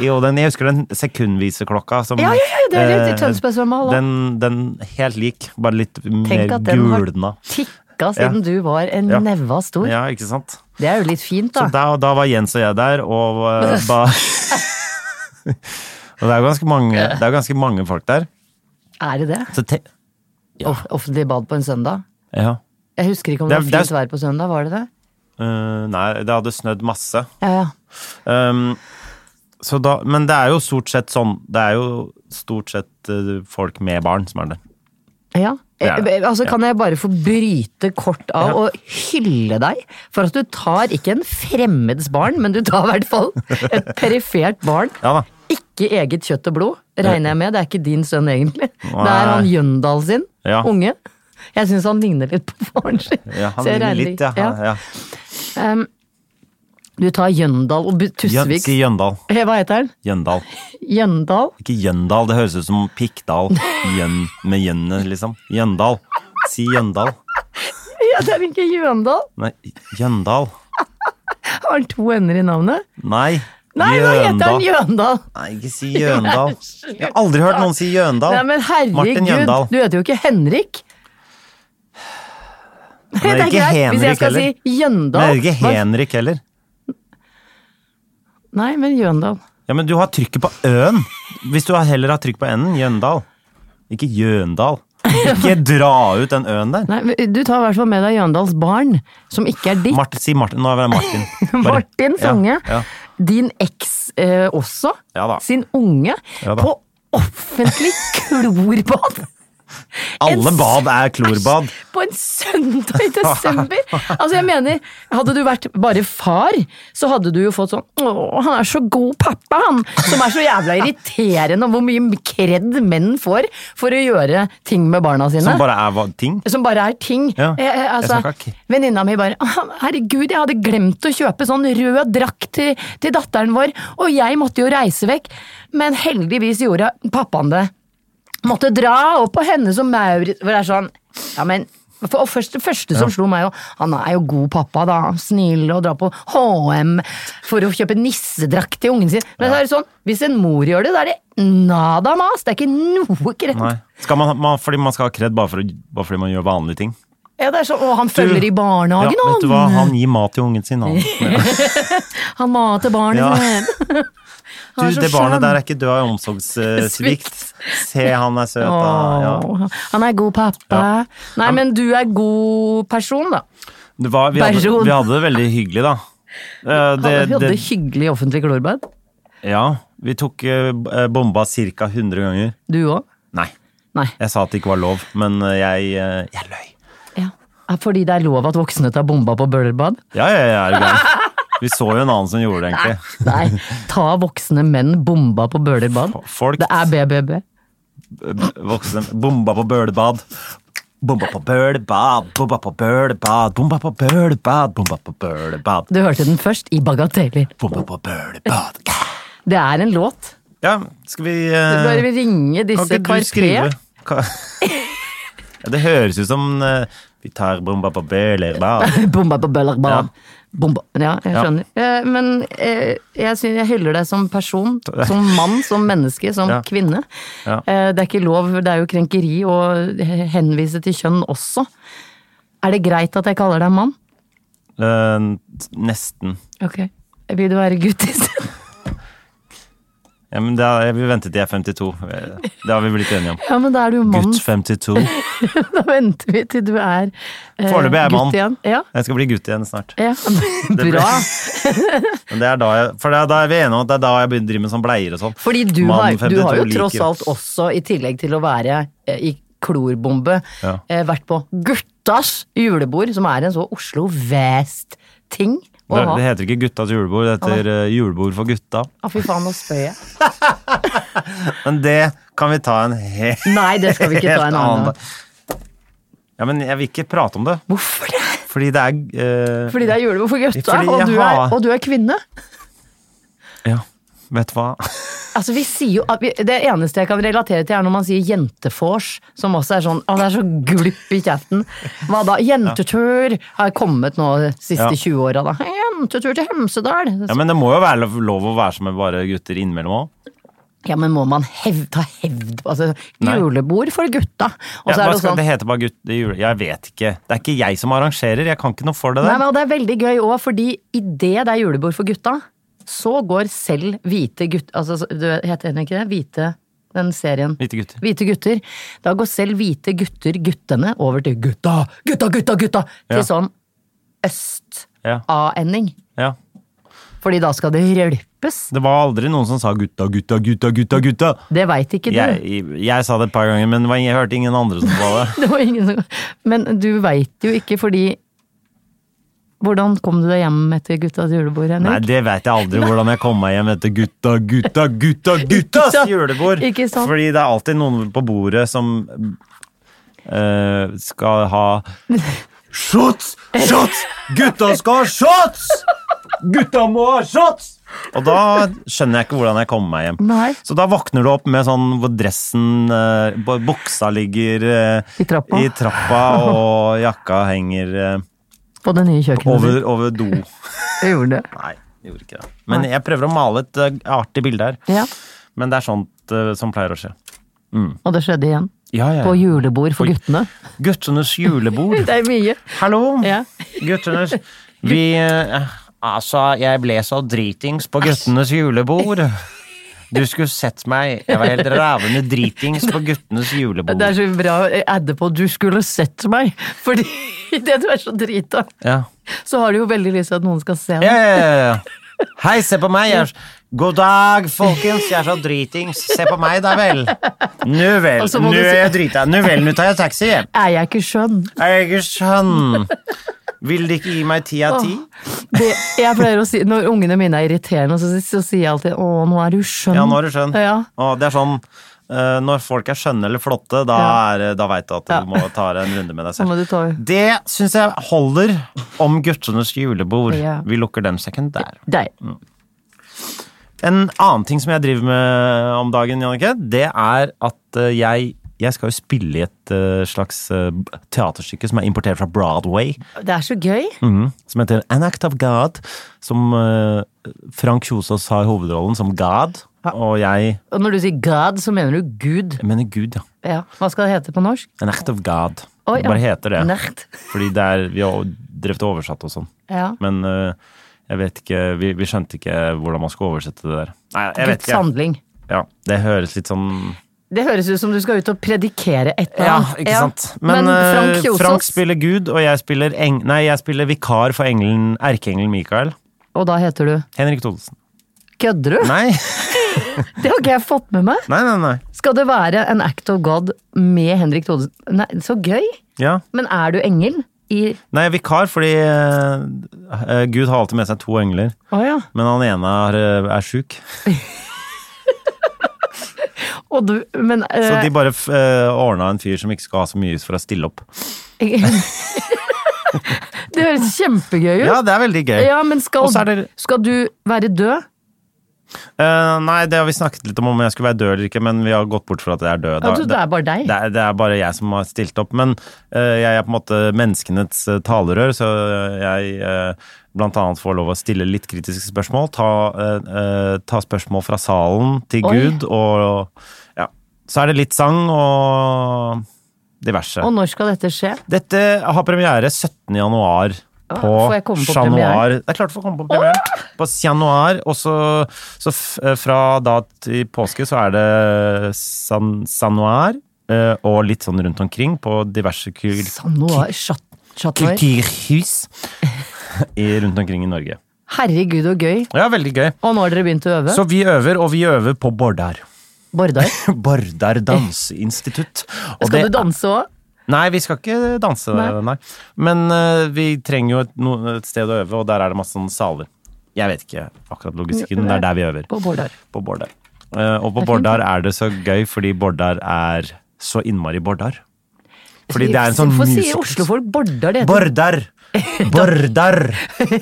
Speaker 2: Jo, den, jeg husker den sekundviseklokka som
Speaker 1: Ja, ja, ja, det er litt i
Speaker 2: eh,
Speaker 1: Tønsberg svømmehall, da.
Speaker 2: Den, den helt lik, bare litt
Speaker 1: Tenk
Speaker 2: mer
Speaker 1: at den har
Speaker 2: gulna.
Speaker 1: tikka siden
Speaker 2: Ja.
Speaker 1: du var en
Speaker 2: Ja.
Speaker 1: neva stor.
Speaker 2: Ja, ikke sant?
Speaker 1: Det er jo litt fint,
Speaker 2: Så
Speaker 1: da.
Speaker 2: da, da var Jens og jeg der, og eh, ba Og det er jo ganske mange, det er jo ganske mange folk der.
Speaker 1: Er det det?
Speaker 2: Så te,
Speaker 1: Off offentlig bad på en søndag?
Speaker 2: ja.
Speaker 1: Jeg husker ikke om
Speaker 2: Det
Speaker 1: det,
Speaker 2: er-
Speaker 1: var
Speaker 2: det er-
Speaker 1: fint vær på søndag, var det det?
Speaker 2: Eh, nei, det hadde snødd masse.
Speaker 1: Ja, ja.
Speaker 2: Um, så da, men det er jo stort sett sånn. Det er jo stort sett eh, folk med barn som er der.
Speaker 1: Ja.
Speaker 2: Det er det.
Speaker 1: Eh, Altså,
Speaker 2: Ja.
Speaker 1: kan jeg bare få bryte kort av og hylle deg for at du tar ikke en fremmeds barn, men du tar i hvert fall et perifert barn.
Speaker 2: Ja da.
Speaker 1: Ikke eget kjøtt og blod, regner jeg med. Det er ikke din sønn, egentlig. Det er
Speaker 2: Nei.
Speaker 1: han Jøndal sin
Speaker 2: Ja.
Speaker 1: unge. Jeg syns han ligner litt på faren sin.
Speaker 2: Ja, han
Speaker 1: så jeg
Speaker 2: ligner
Speaker 1: regner
Speaker 2: litt, ja.
Speaker 1: ikke-
Speaker 2: ja. ja.
Speaker 1: Du tar Jøndal og Bu-
Speaker 2: Jøn,
Speaker 1: Tusvik
Speaker 2: si Jøndal.
Speaker 1: Eh, Hva heter han?
Speaker 2: Jøndal.
Speaker 1: Jøndal?
Speaker 2: Ikke Jøndal, det høres ut som Pikkdal Jøn, med jønne, liksom. Jøndal. Si Jøndal.
Speaker 1: Ja, det er ikke Jøndal.
Speaker 2: Nei, Jøndal.
Speaker 1: Har han to ender i navnet?
Speaker 2: Nei.
Speaker 1: Nei, nå heter han Jøndal!
Speaker 2: Nei, ikke si Jøndal. Jeg har aldri hørt noen si Jøndal.
Speaker 1: Nei, men
Speaker 2: Martin
Speaker 1: herregud,
Speaker 2: Jøndal.
Speaker 1: du heter jo ikke Henrik.
Speaker 2: Han er ikke
Speaker 1: Hvis jeg
Speaker 2: Henrik
Speaker 1: skal
Speaker 2: heller.
Speaker 1: si
Speaker 2: Men
Speaker 1: Jøndal
Speaker 2: er det ikke
Speaker 1: hva-
Speaker 2: Henrik heller.
Speaker 1: Nei, men Jøndal.
Speaker 2: Ja, men du har trykket på øen. Hvis du har- heller har trykk på enden, Jøndal. Ikke Jøndal. Ikke dra ut den øen der.
Speaker 1: Nei, men du tar i hvert fall med deg Jøndals barn, som ikke er ditt.
Speaker 2: Martin, si Martin. Nå er det Martin. Bare-
Speaker 1: Martin Sange.
Speaker 2: Ja, ja.
Speaker 1: Din eks eh, også.
Speaker 2: Ja da.
Speaker 1: Sin unge.
Speaker 2: Ja da.
Speaker 1: på offentlig klorbad!
Speaker 2: Alle
Speaker 1: En
Speaker 2: bad er klorbad.
Speaker 1: På en søndag i desember! Altså, jeg mener, hadde du vært bare far, så hadde du jo fått sånn Å, han er så god pappa, han! Som er så jævla irriterende, og hvor mye kred menn får for å gjøre ting med barna sine.
Speaker 2: Som bare er hva- ting.
Speaker 1: som bare er ting.
Speaker 2: Ja,
Speaker 1: Eh, eh,
Speaker 2: jeg
Speaker 1: altså,
Speaker 2: snakker ikke.
Speaker 1: Venninna mi bare «Å, 'Herregud, jeg hadde glemt å kjøpe sånn rød drakt til, til datteren vår', og jeg måtte jo reise vekk. Men heldigvis gjorde pappaen det. Måtte dra opp på henne som Maurits Hvor det er sånn Ja, men for, og først, Det første som slo meg, jo han er jo god pappa, da. Snill og drar på HM for å kjøpe nissedrakt til ungen sin. Men så er det sånn, hvis en mor gjør det, da er det nada mas. Det er ikke noe kredd.
Speaker 2: Nei. Skal man, man, fordi man skal ha kred bare, for, å- bare fordi man gjør vanlige ting.
Speaker 1: Ja, det er sånn, Å, han følger i
Speaker 2: Ja,
Speaker 1: barnehagen,
Speaker 2: vet du hva? Han gir mat til ungen sin. Han.
Speaker 1: Han mater barnet
Speaker 2: Ja.
Speaker 1: sitt.
Speaker 2: Du,
Speaker 1: er så
Speaker 2: det barnet
Speaker 1: skjønn.
Speaker 2: der er ikke død av omsorgssvikt. Se, han er søt. da. Ja.
Speaker 1: Åh, Han er god pappa.
Speaker 2: Ja.
Speaker 1: Nei, men du er god person, da.
Speaker 2: Det var, vi, hadde,
Speaker 1: Person.
Speaker 2: vi hadde det veldig hyggelig, da. Eh,
Speaker 1: Han
Speaker 2: det-
Speaker 1: hadde
Speaker 2: det-
Speaker 1: hyggelig offentlig klorbad.
Speaker 2: Ja, vi tok eh, b- eh, bomba ca. 100 ganger.
Speaker 1: Du òg?
Speaker 2: Nei,
Speaker 1: Nei.
Speaker 2: jeg sa at det ikke var lov, men eh, jeg, eh, jeg løy.
Speaker 1: Ja. Fordi det er lov at voksne tar bomba på bølerbad?
Speaker 2: Ja, ja, ja, er du gæren. Vi så jo en annen som gjorde det, egentlig.
Speaker 1: Nei. Ta voksne menn bomba på bølerbad?
Speaker 2: F- folk-
Speaker 1: Det er BBB.
Speaker 2: Voksne. Bomba på bølebad. Bomba på bølebad, bomba på bølebad, bomba på bølebad, bomba på bølebad.
Speaker 1: Du hørte den først i Bagateller.
Speaker 2: Bomba på bølebad.
Speaker 1: Det er en låt.
Speaker 2: Ja, skal vi
Speaker 1: Du
Speaker 2: eh,
Speaker 1: bør ringe
Speaker 2: Kan
Speaker 1: disse
Speaker 2: ikke du skrive?
Speaker 1: Carpe.
Speaker 2: Ka- Ja, det høres ut som eh, vi tar bomba på bølebad.
Speaker 1: Bomba på bøllerbad.
Speaker 2: Ja.
Speaker 1: Bomba. Ja, jeg
Speaker 2: Ja.
Speaker 1: skjønner. Eh, Men eh, jeg, synes jeg hyller deg som person, som mann, som menneske, som
Speaker 2: Ja.
Speaker 1: kvinne.
Speaker 2: Ja.
Speaker 1: Eh, Det er ikke lov, det er jo krenkeri å henvise til kjønn også. Er det greit at jeg kaller deg mann?
Speaker 2: Eh, nesten.
Speaker 1: Ok. Vil du være gutt isteden?
Speaker 2: Ja, men da, jeg vil vente til jeg er 52. Det har vi blitt enige om.
Speaker 1: Ja, men da er du jo mann.
Speaker 2: Gutt 52.
Speaker 1: Da venter vi til du er eh,
Speaker 2: Foreløpig er jeg mann.
Speaker 1: gutt igjen. Ja.
Speaker 2: Jeg skal bli gutt igjen snart.
Speaker 1: ja.
Speaker 2: blir-
Speaker 1: Bra.
Speaker 2: Men det er da jeg, for det er da er vi enige om at det er da jeg begynner å drive med sånn bleier og sånn.
Speaker 1: Fordi du
Speaker 2: Mann
Speaker 1: har, du
Speaker 2: 52
Speaker 1: har jo
Speaker 2: liker.
Speaker 1: tross alt også, i tillegg til å være eh, i klorbombe,
Speaker 2: Ja.
Speaker 1: eh, vært på Guttas julebord, som er en så Oslo Vest-ting å
Speaker 2: Det,
Speaker 1: ha.
Speaker 2: det heter ikke Guttas julebord, det heter eh, Julebord for gutta.
Speaker 1: Ah, fy faen, nå spør jeg.
Speaker 2: Men det kan vi ta en he
Speaker 1: Nei, det skal vi ikke ta en annen gang.
Speaker 2: Ja, men jeg vil ikke prate om det,
Speaker 1: Hvorfor det?
Speaker 2: fordi det er eh,
Speaker 1: Fordi det er julebord for gutta,
Speaker 2: Fordi
Speaker 1: og
Speaker 2: jeg
Speaker 1: du, er,
Speaker 2: har-
Speaker 1: og du er kvinne.
Speaker 2: Ja, eh, vet du hva?
Speaker 1: Altså, vi sier jo, at vi- det eneste jeg kan relatere til, er når man sier jentefors, som også er sånn Å, det er så glupp i chatten. Hva da? Jentetur har kommet nå de siste
Speaker 2: Ja.
Speaker 1: 20 åra, da. Jentetur til Hemsedal!
Speaker 2: Ja, Men det må jo være lov, lov å være som med bare gutter innimellom òg.
Speaker 1: Ja, men må man hev, ta hevd på altså,
Speaker 2: Nei.
Speaker 1: Julebord for gutta! Og så
Speaker 2: Ja,
Speaker 1: er
Speaker 2: hva
Speaker 1: det jo
Speaker 2: skal
Speaker 1: sånn
Speaker 2: det hete bare gutt i jule... Jeg vet ikke. Det er ikke jeg som arrangerer, jeg kan ikke noe for det
Speaker 1: Nei,
Speaker 2: der.
Speaker 1: men Det er veldig gøy òg, fordi idet det er julebord for gutta, så går selv hvite gutt... Altså, så- du vet- heter den ikke det? Hvite den serien.
Speaker 2: Hvite gutter.
Speaker 1: Hvite gutter. Da går selv hvite gutter, guttene, over til gutta, gutta, gutta, gutta! Til
Speaker 2: Ja.
Speaker 1: sånn øst-a-ending.
Speaker 2: Ja, ja.
Speaker 1: Fordi da skal det rølpes.
Speaker 2: Det var aldri noen som sa 'gutta, gutta, gutta, gutta'. gutta.
Speaker 1: Det veit ikke du.
Speaker 2: Jeg, jeg sa det et par ganger, men det var- jeg hørte ingen andre som sa det.
Speaker 1: Det var ingen som Men du veit jo ikke fordi Hvordan kom du deg hjem etter guttas julebord, Henrik?
Speaker 2: Nei, det vet jeg aldri hvordan jeg kom meg hjem etter 'gutta, gutta, gutta, guttas
Speaker 1: sant?
Speaker 2: julebord'.
Speaker 1: Ikke sant?
Speaker 2: Fordi det er alltid noen på bordet som eh, skal ha Shots! Shots! Gutta skal ha shots! Gutta må ha shots! Og da skjønner jeg ikke hvordan jeg kommer meg hjem.
Speaker 1: Nei.
Speaker 2: Så da våkner du opp med sånn hvor dressen eh, bu- Buksa ligger eh,
Speaker 1: I trappa.
Speaker 2: i trappa, og jakka henger eh,
Speaker 1: På det nye kjøkkenet
Speaker 2: over,
Speaker 1: ditt.
Speaker 2: over do.
Speaker 1: Jeg gjorde det.
Speaker 2: Nei, jeg gjorde ikke det. Men jeg prøver å male et eh, artig bilde her.
Speaker 1: Ja,
Speaker 2: Men det er sånt eh, som pleier å skje.
Speaker 1: Og det skjedde igjen.
Speaker 2: Ja, ja.
Speaker 1: På julebord for
Speaker 2: Oi.
Speaker 1: guttene.
Speaker 2: Guttenes julebord.
Speaker 1: Det er mye.
Speaker 2: Hallo!
Speaker 1: Ja.
Speaker 2: Guttenes Vi eh, Altså, jeg ble så dritings på guttenes julebord. Du skulle sett meg. Jeg var helt rævende dritings på guttenes julebord.
Speaker 1: Det er så bra å adde på 'du skulle sett meg', fordi idet du er så drita,
Speaker 2: Ja.
Speaker 1: så har du jo veldig lyst til at noen skal se
Speaker 2: Ja,
Speaker 1: deg.
Speaker 2: ja, ja, ja. Hei, se på meg. Jeg er... s- God dag, folkens. Jeg er så dritings. Se på meg, da vel. Nu vel.
Speaker 1: Og så må du
Speaker 2: Nu
Speaker 1: si-
Speaker 2: er jeg drita. Nu vel, nu tar jeg taxi hjem.
Speaker 1: Er jeg ikke skjønn?
Speaker 2: Jeg er skjønn. Vil de ikke gi meg ti av ti?
Speaker 1: Det, jeg pleier å si, Når ungene mine er irriterende, så, så sier jeg alltid 'å, nå er du skjønn'.
Speaker 2: Ja, nå er du skjønn.
Speaker 1: Ja.
Speaker 2: Og det er sånn, eh, når folk er skjønne eller flotte, da,
Speaker 1: Ja.
Speaker 2: er, da vet du at du
Speaker 1: Ja.
Speaker 2: må ta deg en runde med deg
Speaker 1: Da må
Speaker 2: selv.
Speaker 1: du ta-
Speaker 2: Det syns jeg holder om guttenes julebord.
Speaker 1: Ja.
Speaker 2: Vi lukker den sekken der.
Speaker 1: Der.
Speaker 2: En annen ting som jeg driver med om dagen, Jannicke, det er at eh, jeg jeg skal jo spille i et eh, slags eh, teaterstykke som er importert fra Broadway.
Speaker 1: Det er så gøy.
Speaker 2: Mhm. Som heter An Act of God. Som eh, Frank Kjosås har hovedrollen som God. Og jeg
Speaker 1: Og når du sier God, så mener du Gud.
Speaker 2: Jeg mener Gud, ja.
Speaker 1: Ja. Hva skal det hete på norsk?
Speaker 2: An act of God.
Speaker 1: Oi,
Speaker 2: Det bare
Speaker 1: ja.
Speaker 2: heter det.
Speaker 1: Nert.
Speaker 2: Fordi det er, vi har drevet og oversatt og sånn.
Speaker 1: Ja.
Speaker 2: Men øh, jeg vet ikke vi, vi skjønte ikke hvordan man skulle oversette det der. Nei, jeg vet
Speaker 1: Guds
Speaker 2: ikke.
Speaker 1: handling.
Speaker 2: Ja, det høres litt sånn
Speaker 1: Det høres ut som du skal ut og predikere et eller
Speaker 2: Ja,
Speaker 1: annet.
Speaker 2: ikke sant. Men,
Speaker 1: Men, Frank
Speaker 2: øh,
Speaker 1: Kjosås
Speaker 2: Frank spiller Gud, og jeg spiller, eng nei, jeg spiller vikar for engelen, erkeengelen Mikael.
Speaker 1: Og da heter du
Speaker 2: Henrik Thodesen.
Speaker 1: Kødder du?
Speaker 2: Nei.
Speaker 1: Det har ikke jeg fått med meg!
Speaker 2: nei, nei, nei.
Speaker 1: Skal det være en act of God med Henrik Thodesen? Nei, så gøy!
Speaker 2: Ja.
Speaker 1: Men er du engel i
Speaker 2: Nei, vikar fordi øh, øh, Gud har alltid med seg to engler.
Speaker 1: Å ja.
Speaker 2: Men han ene er, øh, er sjuk.
Speaker 1: Og du, men
Speaker 2: Så
Speaker 1: eh,
Speaker 2: de bare uh, ordna en fyr som ikke skal ha så mye for å stille opp.
Speaker 1: Det høres kjempegøy ut!
Speaker 2: Ja, det er veldig gøy.
Speaker 1: Ja, men skal,
Speaker 2: Og så er det-
Speaker 1: skal du være død?
Speaker 2: Eh, nei, det har vi snakket litt om om jeg skulle være død eller ikke, men vi har gått bort fra at jeg er død.
Speaker 1: Jeg trodde det er bare deg.
Speaker 2: Det er, det er bare jeg som har stilt opp. Men eh, jeg er på en måte menneskenes eh, talerør, så jeg eh, blant annet får lov å stille litt kritiske spørsmål. Ta, eh, eh, ta spørsmål fra salen til
Speaker 1: Oi.
Speaker 2: Gud, og, ja. Så er det litt sang og diverse.
Speaker 1: Og når skal dette skje?
Speaker 2: Dette har premiere 17. januar
Speaker 1: Ah,
Speaker 2: på,
Speaker 1: får jeg komme på
Speaker 2: Chat Noir.
Speaker 1: premiere?
Speaker 2: Det er klart du får komme på premiere. På Chat Noir. Og så, så f eh, fra da til påske så er det San, San Noir. eh, Og litt sånn rundt omkring på diverse kul-
Speaker 1: Sanoir? Chat, Chat Noir?
Speaker 2: kulturhus i- rundt omkring i Norge.
Speaker 1: Herregud, og gøy.
Speaker 2: Ja, veldig gøy.
Speaker 1: Og nå har dere begynt å øve?
Speaker 2: Så vi øver, og vi øver på Bordar.
Speaker 1: Bordar?
Speaker 2: Bordar danseinstitutt. Og
Speaker 1: Skal
Speaker 2: det-
Speaker 1: du danse òg?
Speaker 2: Nei, vi skal ikke danse, nei.
Speaker 1: Nei.
Speaker 2: Men eh, vi trenger jo et, no, et sted å øve, og der er det masse sånne saler. Jeg vet ikke akkurat logistikken, det er der vi øver.
Speaker 1: På Bordar.
Speaker 2: På Bårdar. Eh, og på Bårdar er det så gøy, fordi Bårdar er så innmari Bårdar. Fordi det er en sånn
Speaker 1: Hvorfor sier
Speaker 2: musical-
Speaker 1: Oslofolk Bordar? Det heter
Speaker 2: Bordar! Bordar!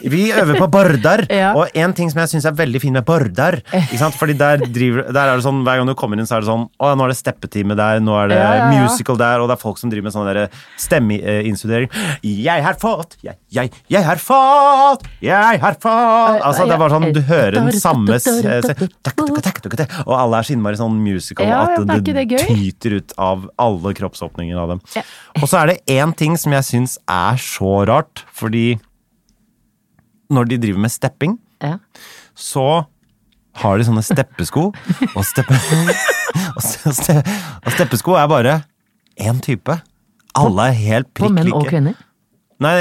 Speaker 2: Vi øver på Bordar,
Speaker 1: Ja.
Speaker 2: og en ting som jeg syns er veldig fin med Bordar ikke sant? Fordi der, driver, der er det sånn, Hver gang du kommer inn, så er det sånn Å, nå er det steppetime der, nå er det
Speaker 1: Ja, ja, ja.
Speaker 2: musical der, og det er folk som driver med sånn derre stemmeinstudering. Jeg har fått, jeg, jeg, jeg har fått, jeg har fått Altså, det er bare sånn, du hører den samme s- s- Og alle er så innmari sånn musical
Speaker 1: Ja, ja, men er
Speaker 2: at
Speaker 1: ikke
Speaker 2: det,
Speaker 1: det gøy?
Speaker 2: tyter ut av alle kroppsåpninger av dem. Og så er det én ting som jeg syns er så rart, fordi når de driver med stepping,
Speaker 1: Ja.
Speaker 2: så har de sånne steppesko, og, steppe, og, ste, ste- og steppesko er bare én type. Alle er helt
Speaker 1: På
Speaker 2: prikk
Speaker 1: menn og
Speaker 2: like.
Speaker 1: kvinner.
Speaker 2: Nei,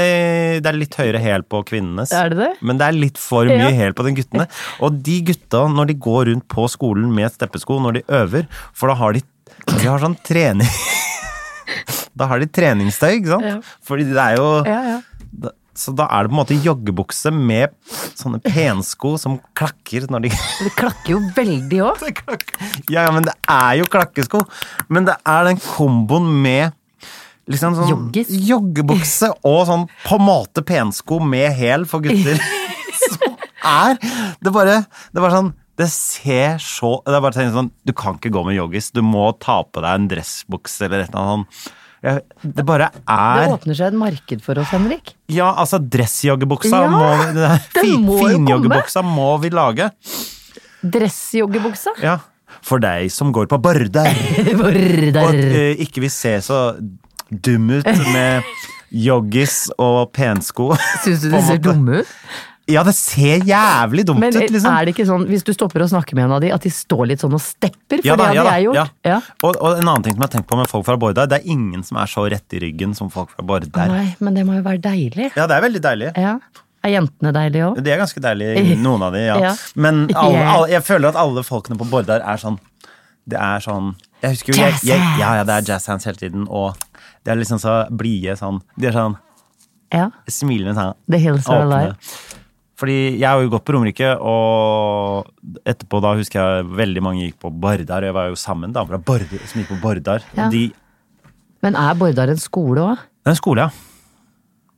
Speaker 2: det er litt høyere hæl på kvinnenes.
Speaker 1: Er det det?
Speaker 2: Men det er litt for mye
Speaker 1: Ja.
Speaker 2: hæl på den guttene. Og de gutta, når de går rundt på skolen med steppesko når de øver, for da har de, de har sånn trening Da har de treningstøy, ikke sant?
Speaker 1: Ja.
Speaker 2: Fordi det er jo
Speaker 1: Ja, ja.
Speaker 2: da- Så da er det på en måte joggebukse med sånne pensko som klakker når de
Speaker 1: Det klakker jo veldig òg.
Speaker 2: det er klakk- Ja, ja, men det er jo klakkesko. Men det er den komboen med liksom sånn
Speaker 1: Joggis.
Speaker 2: joggebukse og sånn på en måte pensko med hæl for gutter som er Det bare Det er bare sånn det ser så Det er bare å tenke sånn Du kan ikke gå med joggis. Du må ta på deg en dressbukse eller et eller annet sånn. Ja, Det bare
Speaker 1: Det
Speaker 2: er
Speaker 1: åpner seg et marked for oss, Henrik.
Speaker 2: Ja, altså dressjoggebuksa
Speaker 1: Ja,
Speaker 2: må vi den der
Speaker 1: den
Speaker 2: fin-
Speaker 1: må jo komme.
Speaker 2: Finjoggebuksa må vi lage.
Speaker 1: Dressjoggebuksa.
Speaker 2: Ja. For deg som går på Bardar. Og at
Speaker 1: Bordar.
Speaker 2: eh, ikke vi ser så dum ut med joggis og pensko.
Speaker 1: Syns du de
Speaker 2: på en
Speaker 1: ser
Speaker 2: måte.
Speaker 1: dumme ut?
Speaker 2: Ja, det ser jævlig dumt
Speaker 1: Men
Speaker 2: ut, liksom.
Speaker 1: er det ikke sånn, hvis du stopper å snakke med en av de, at de står litt sånn og stepper? For
Speaker 2: Ja da,
Speaker 1: det
Speaker 2: ja
Speaker 1: hadde
Speaker 2: da,
Speaker 1: jeg gjort.
Speaker 2: ja.
Speaker 1: Ja.
Speaker 2: Og, og en annen ting som jeg har tenkt på med folk fra Bårdar, det er ingen som er så rett i ryggen som folk fra Bårdar.
Speaker 1: Nei, men det må jo være deilig.
Speaker 2: Ja, det er veldig deilig.
Speaker 1: Ja. Er jentene deilige òg?
Speaker 2: De er ganske deilige, noen av de, ja.
Speaker 1: Eh, Ja.
Speaker 2: Men alle,
Speaker 1: Ja.
Speaker 2: alle, jeg føler at alle folkene på Bårdar er sånn Det er sånn jeg husker jo, jeg,
Speaker 1: Jazz
Speaker 2: jeg, ja, ja,
Speaker 1: hands.
Speaker 2: det er jazz hands hele tiden, og de er liksom så blide sånn De er sånn
Speaker 1: Ja.
Speaker 2: smilende sånn
Speaker 1: The Hills Are
Speaker 2: åpne.
Speaker 1: Alive.
Speaker 2: Fordi jeg har jo gått på Romerike, og etterpå da husker jeg veldig mange gikk på Bardar. og Jeg var jo sammen med damer fra Bardar som gikk på Bardar.
Speaker 1: Ja.
Speaker 2: De,
Speaker 1: Men er Bordar en skole òg?
Speaker 2: det er en skole, ja.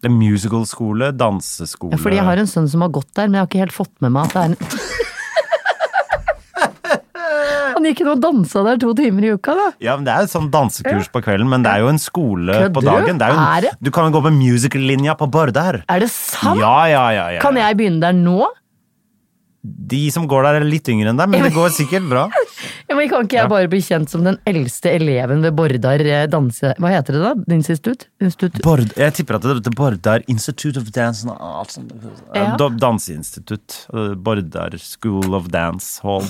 Speaker 2: Det er musical-skole, danseskole
Speaker 1: Ja, fordi jeg har en sønn som har gått der, men jeg har ikke helt fått med meg at det er en Han gikk inn og dansa der to timer i uka, da.
Speaker 2: Ja, men Det er jo et sånn dansekurs på kvelden, men det er jo en skole
Speaker 1: Kødder
Speaker 2: på
Speaker 1: du?
Speaker 2: dagen. Det er jo
Speaker 1: Er det?
Speaker 2: en, du kan jo gå på musical-linja på Bardar.
Speaker 1: Er det sant?
Speaker 2: Ja, ja, ja, ja.
Speaker 1: Kan jeg begynne der nå?
Speaker 2: De som går der, er litt yngre enn deg, men det går sikkert bra.
Speaker 1: Ja, men Kan ikke jeg bare bli kjent som den eldste eleven ved Bordar eh, danse... Hva heter det da? Institutt? Institutt?
Speaker 2: Bord, jeg tipper at det heter Bordar Institute of Dance and Arts.
Speaker 1: Ja.
Speaker 2: Eh, Da- Danseinstitutt. eh, Bordar School of Dance Hall.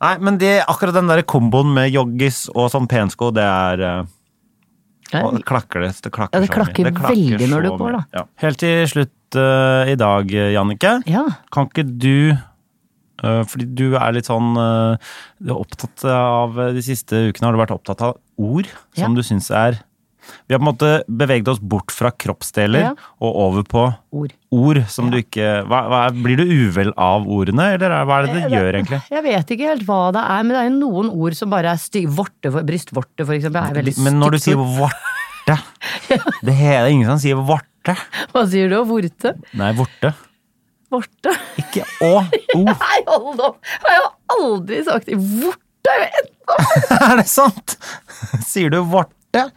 Speaker 2: Nei, men det, akkurat den der komboen med joggis og sånn pensko, det er eh, og det klakker det. Det klakker,
Speaker 1: Ja, det
Speaker 2: så mye.
Speaker 1: klakker veldig når
Speaker 2: så
Speaker 1: du går,
Speaker 2: mye.
Speaker 1: da.
Speaker 2: Ja. Helt til slutt eh, i dag, eh, Jannicke.
Speaker 1: Ja.
Speaker 2: Kan ikke du eh, fordi du er litt sånn eh, du er opptatt av eh, De siste ukene har du vært opptatt av ord
Speaker 1: Ja.
Speaker 2: som du syns er Vi har på en måte beveget oss bort fra kroppsdeler
Speaker 1: Ja.
Speaker 2: og over på
Speaker 1: Ord.
Speaker 2: ord som du ikke hva, hva er, Blir du uvel av ordene, eller er- hva er
Speaker 1: Eh,
Speaker 2: det det gjør, egentlig?
Speaker 1: Jeg vet ikke helt hva det er, men det er jo noen ord som bare er stygge. Vorte, for, brystvorte, for eksempel, er veldig
Speaker 2: Men når du
Speaker 1: stygt
Speaker 2: sier
Speaker 1: ord.
Speaker 2: vorte Det er ingen som sier vorte.
Speaker 1: Hva sier du? Vorte?
Speaker 2: Nei, vorte.
Speaker 1: Vorte?
Speaker 2: Ikke å. O.
Speaker 1: Nei, hold opp! Jeg har aldri sagt vorte! jeg vet.
Speaker 2: Er det sant? Sier du vorte?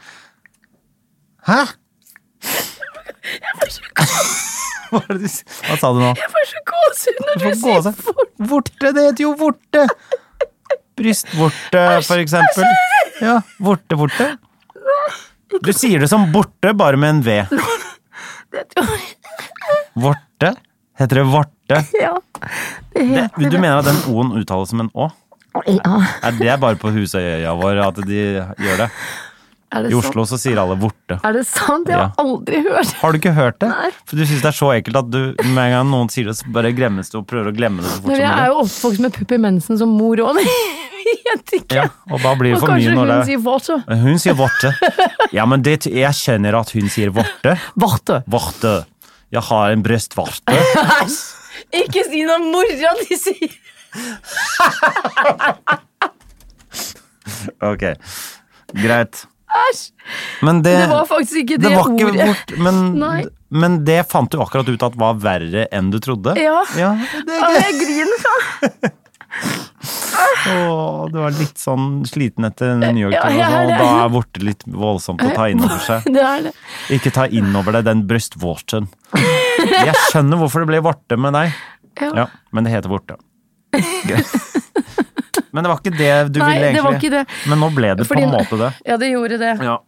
Speaker 2: Hæ? Hva er det du s- Hva sa du nå?
Speaker 1: Jeg får så gåsehud når
Speaker 2: Du
Speaker 1: du
Speaker 2: får
Speaker 1: sier
Speaker 2: gåse. Vorte, det heter jo vorte! Brystvorte, for eksempel. Ja, vorte-vorte. Du sier det som borte, bare med en V. Vorte? Heter det vorte?
Speaker 1: Ja.
Speaker 2: Det, du mener at den O-en uttales som en Å?
Speaker 1: ja.
Speaker 2: Nei, det er bare på Husøyøya vår at de gjør det.
Speaker 1: Er det
Speaker 2: I Oslo så sier alle vorte.
Speaker 1: Sant? Er det sant? Jeg har
Speaker 2: Ja.
Speaker 1: aldri hørt
Speaker 2: Har du ikke hørt det?
Speaker 1: Nei.
Speaker 2: For du syns det er så ekkelt at du med en gang noen sier det, så bare glemmes det og prøver å glemme det så fort
Speaker 1: Men
Speaker 2: som
Speaker 1: jeg er
Speaker 2: mulig.
Speaker 1: jo oppvokst med Puppi Mensen som mor òg. Jeg vet ikke.
Speaker 2: Ja, og da blir
Speaker 1: Og
Speaker 2: det for mye
Speaker 1: kanskje
Speaker 2: når
Speaker 1: hun
Speaker 2: det
Speaker 1: sier vorte.
Speaker 2: Men Hun sier vorte. Ja, men det, jeg skjønner at hun sier vorte.
Speaker 1: Vorte.
Speaker 2: Vorte. Jeg har en brystvorte.
Speaker 1: Æsj! Ikke si noe mora di sier!
Speaker 2: Ok, greit.
Speaker 1: Æsj!
Speaker 2: Men det,
Speaker 1: Det var faktisk ikke det,
Speaker 2: Eh, det var ikke
Speaker 1: ordet.
Speaker 2: vårt men,
Speaker 1: Nei.
Speaker 2: men det fant du akkurat ut at var verre enn du trodde.
Speaker 1: Ja.
Speaker 2: det er
Speaker 1: Å,
Speaker 2: gøy.
Speaker 1: jeg griner sånn.
Speaker 2: Åh, du er litt sånn sliten etter New York,
Speaker 1: Ja,
Speaker 2: og
Speaker 1: jeg er
Speaker 2: sånn, og
Speaker 1: det.
Speaker 2: da er vorte litt voldsomt å ta innover seg.
Speaker 1: Det er det.
Speaker 2: Ikke ta innover deg den brystvorten. Jeg skjønner hvorfor det ble vorte med deg.
Speaker 1: Ja.
Speaker 2: Ja, men det heter vorte. Men det var ikke det du
Speaker 1: Nei,
Speaker 2: ville egentlig.
Speaker 1: det var ikke det.
Speaker 2: Men nå ble det på
Speaker 1: Fordi-
Speaker 2: en måte det.
Speaker 1: Ja, det gjorde det.
Speaker 2: Ja.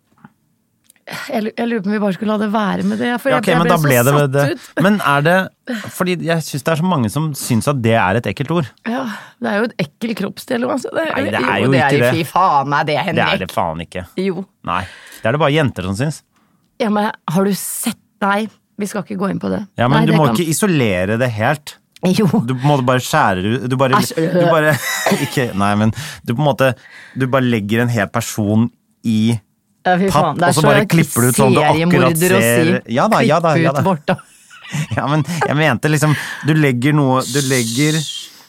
Speaker 1: Jeg, lu- jeg lurer på om vi bare skulle la det være med det. For
Speaker 2: Ja,
Speaker 1: jeg-
Speaker 2: ok,
Speaker 1: jeg
Speaker 2: men da ble det,
Speaker 1: så
Speaker 2: det.
Speaker 1: satt ut.
Speaker 2: Men er det Fordi jeg syns det er så mange som syns at det er et ekkelt ord.
Speaker 1: Ja, det er jo et ekkel kroppsdel òg.
Speaker 2: Nei, det er jo ikke
Speaker 1: Fy
Speaker 2: det.
Speaker 1: faen meg det,
Speaker 2: Det er det
Speaker 1: Henrik.
Speaker 2: faen ikke.
Speaker 1: Jo.
Speaker 2: Nei. Det er det bare jenter som syns.
Speaker 1: Ja, men har du sett Nei, vi skal ikke gå inn på det.
Speaker 2: Ja, men
Speaker 1: Nei,
Speaker 2: du
Speaker 1: det
Speaker 2: må
Speaker 1: kan-
Speaker 2: ikke isolere det helt.
Speaker 1: Jo.
Speaker 2: Du på en måte bare skjærer ut Du bare,
Speaker 1: Æsj, øh.
Speaker 2: du bare ikke, Nei, men du på en måte Du bare legger en hel person i
Speaker 1: Ja, fy
Speaker 2: papp,
Speaker 1: faen, det er
Speaker 2: og så
Speaker 1: så
Speaker 2: bare klipper du ut sånn du
Speaker 1: seriemorder
Speaker 2: akkurat
Speaker 1: å si.
Speaker 2: ser- Ja da, ja da,
Speaker 1: Klipp
Speaker 2: ja
Speaker 1: ut
Speaker 2: da.
Speaker 1: Borta.
Speaker 2: Ja, men jeg mente liksom Du legger noe Du legger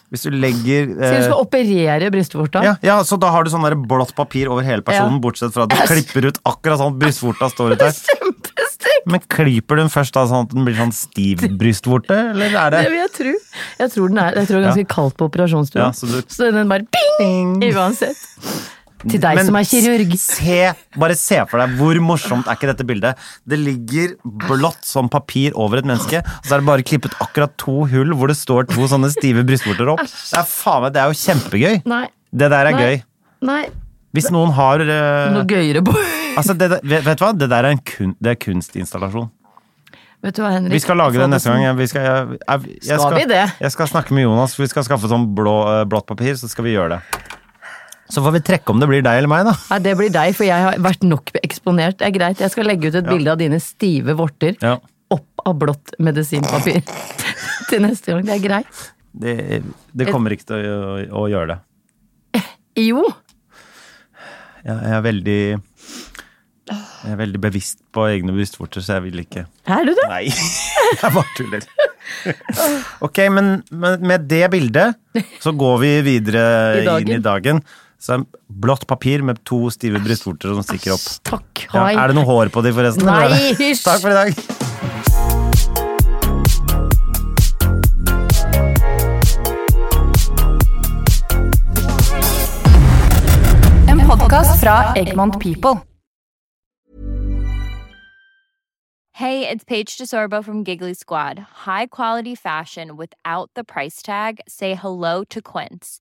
Speaker 2: Hvis du legger
Speaker 1: Sier du
Speaker 2: eh,
Speaker 1: skal operere brystvorta?
Speaker 2: ja, ja, så da har du sånn der blått papir over hele personen,
Speaker 1: Ja.
Speaker 2: bortsett fra at du klipper ut akkurat sånn at brystvorta står ut der.
Speaker 1: Kjempestygt!
Speaker 2: Men klyper du den først da, sånn at den blir sånn stiv brystvorte, eller er det
Speaker 1: Det vil jeg tro. Jeg tror den er, jeg tror det er ganske kaldt på operasjonsstua.
Speaker 2: Ja, så du-
Speaker 1: den bare ping! Uansett. Til deg
Speaker 2: Men
Speaker 1: som er kirurg.
Speaker 2: Se, bare se for deg hvor morsomt er ikke dette bildet. Det ligger blått som papir over et menneske, og så er det bare klippet akkurat to hull hvor det står to sånne stive brystvorter opp. Det er, faen meg, det er jo kjempegøy.
Speaker 1: Nei.
Speaker 2: Det der er
Speaker 1: Nei.
Speaker 2: gøy.
Speaker 1: Nei.
Speaker 2: Hvis noen har eh,
Speaker 1: Noe gøyere på
Speaker 2: altså det, der- vet, vet du hva? Det der er en kun, det er kunstinstallasjon.
Speaker 1: Vet du hva, Henrik?
Speaker 2: Vi skal lage det neste
Speaker 1: Fadersen.
Speaker 2: gang. Jeg- Vi skal, jeg, jeg, jeg
Speaker 1: Skal vi det?
Speaker 2: Jeg skal snakke med Jonas. Vi skal skaffe sånn blå, eh, blått papir, så skal vi gjøre det. Så får vi trekke om det blir deg eller meg, da.
Speaker 1: Nei, det blir deg, for jeg har vært nok eksponert. Det er greit, jeg skal legge ut et bilde av dine stive vorter
Speaker 2: Ja.
Speaker 1: opp av blått medisinpapir til neste gang. Det er greit.
Speaker 2: Det, det kommer ikke til å, å, å gjøre det.
Speaker 1: Jo!
Speaker 2: Jeg, jeg er veldig Jeg er veldig bevisst på egne brystvorter, så jeg vil ikke
Speaker 1: Er du det?
Speaker 2: Nei, jeg bare tuller. Ok, men, men med det bildet så går vi videre
Speaker 1: I dagen.
Speaker 2: inn i dagen. Så en blått papir med to stive brystvorter som stikker opp.
Speaker 1: Takk,
Speaker 2: Ja,
Speaker 1: hai.
Speaker 2: er det noe hår på de, forresten?
Speaker 1: Nei,
Speaker 2: eller er det-
Speaker 1: hysj.
Speaker 2: Takk for i dag.
Speaker 5: En podkast fra Egmont People.
Speaker 6: Hey, it's Paige DeSorbo from Giggly Squad. High quality fashion without the price tag. Say hello to Quince.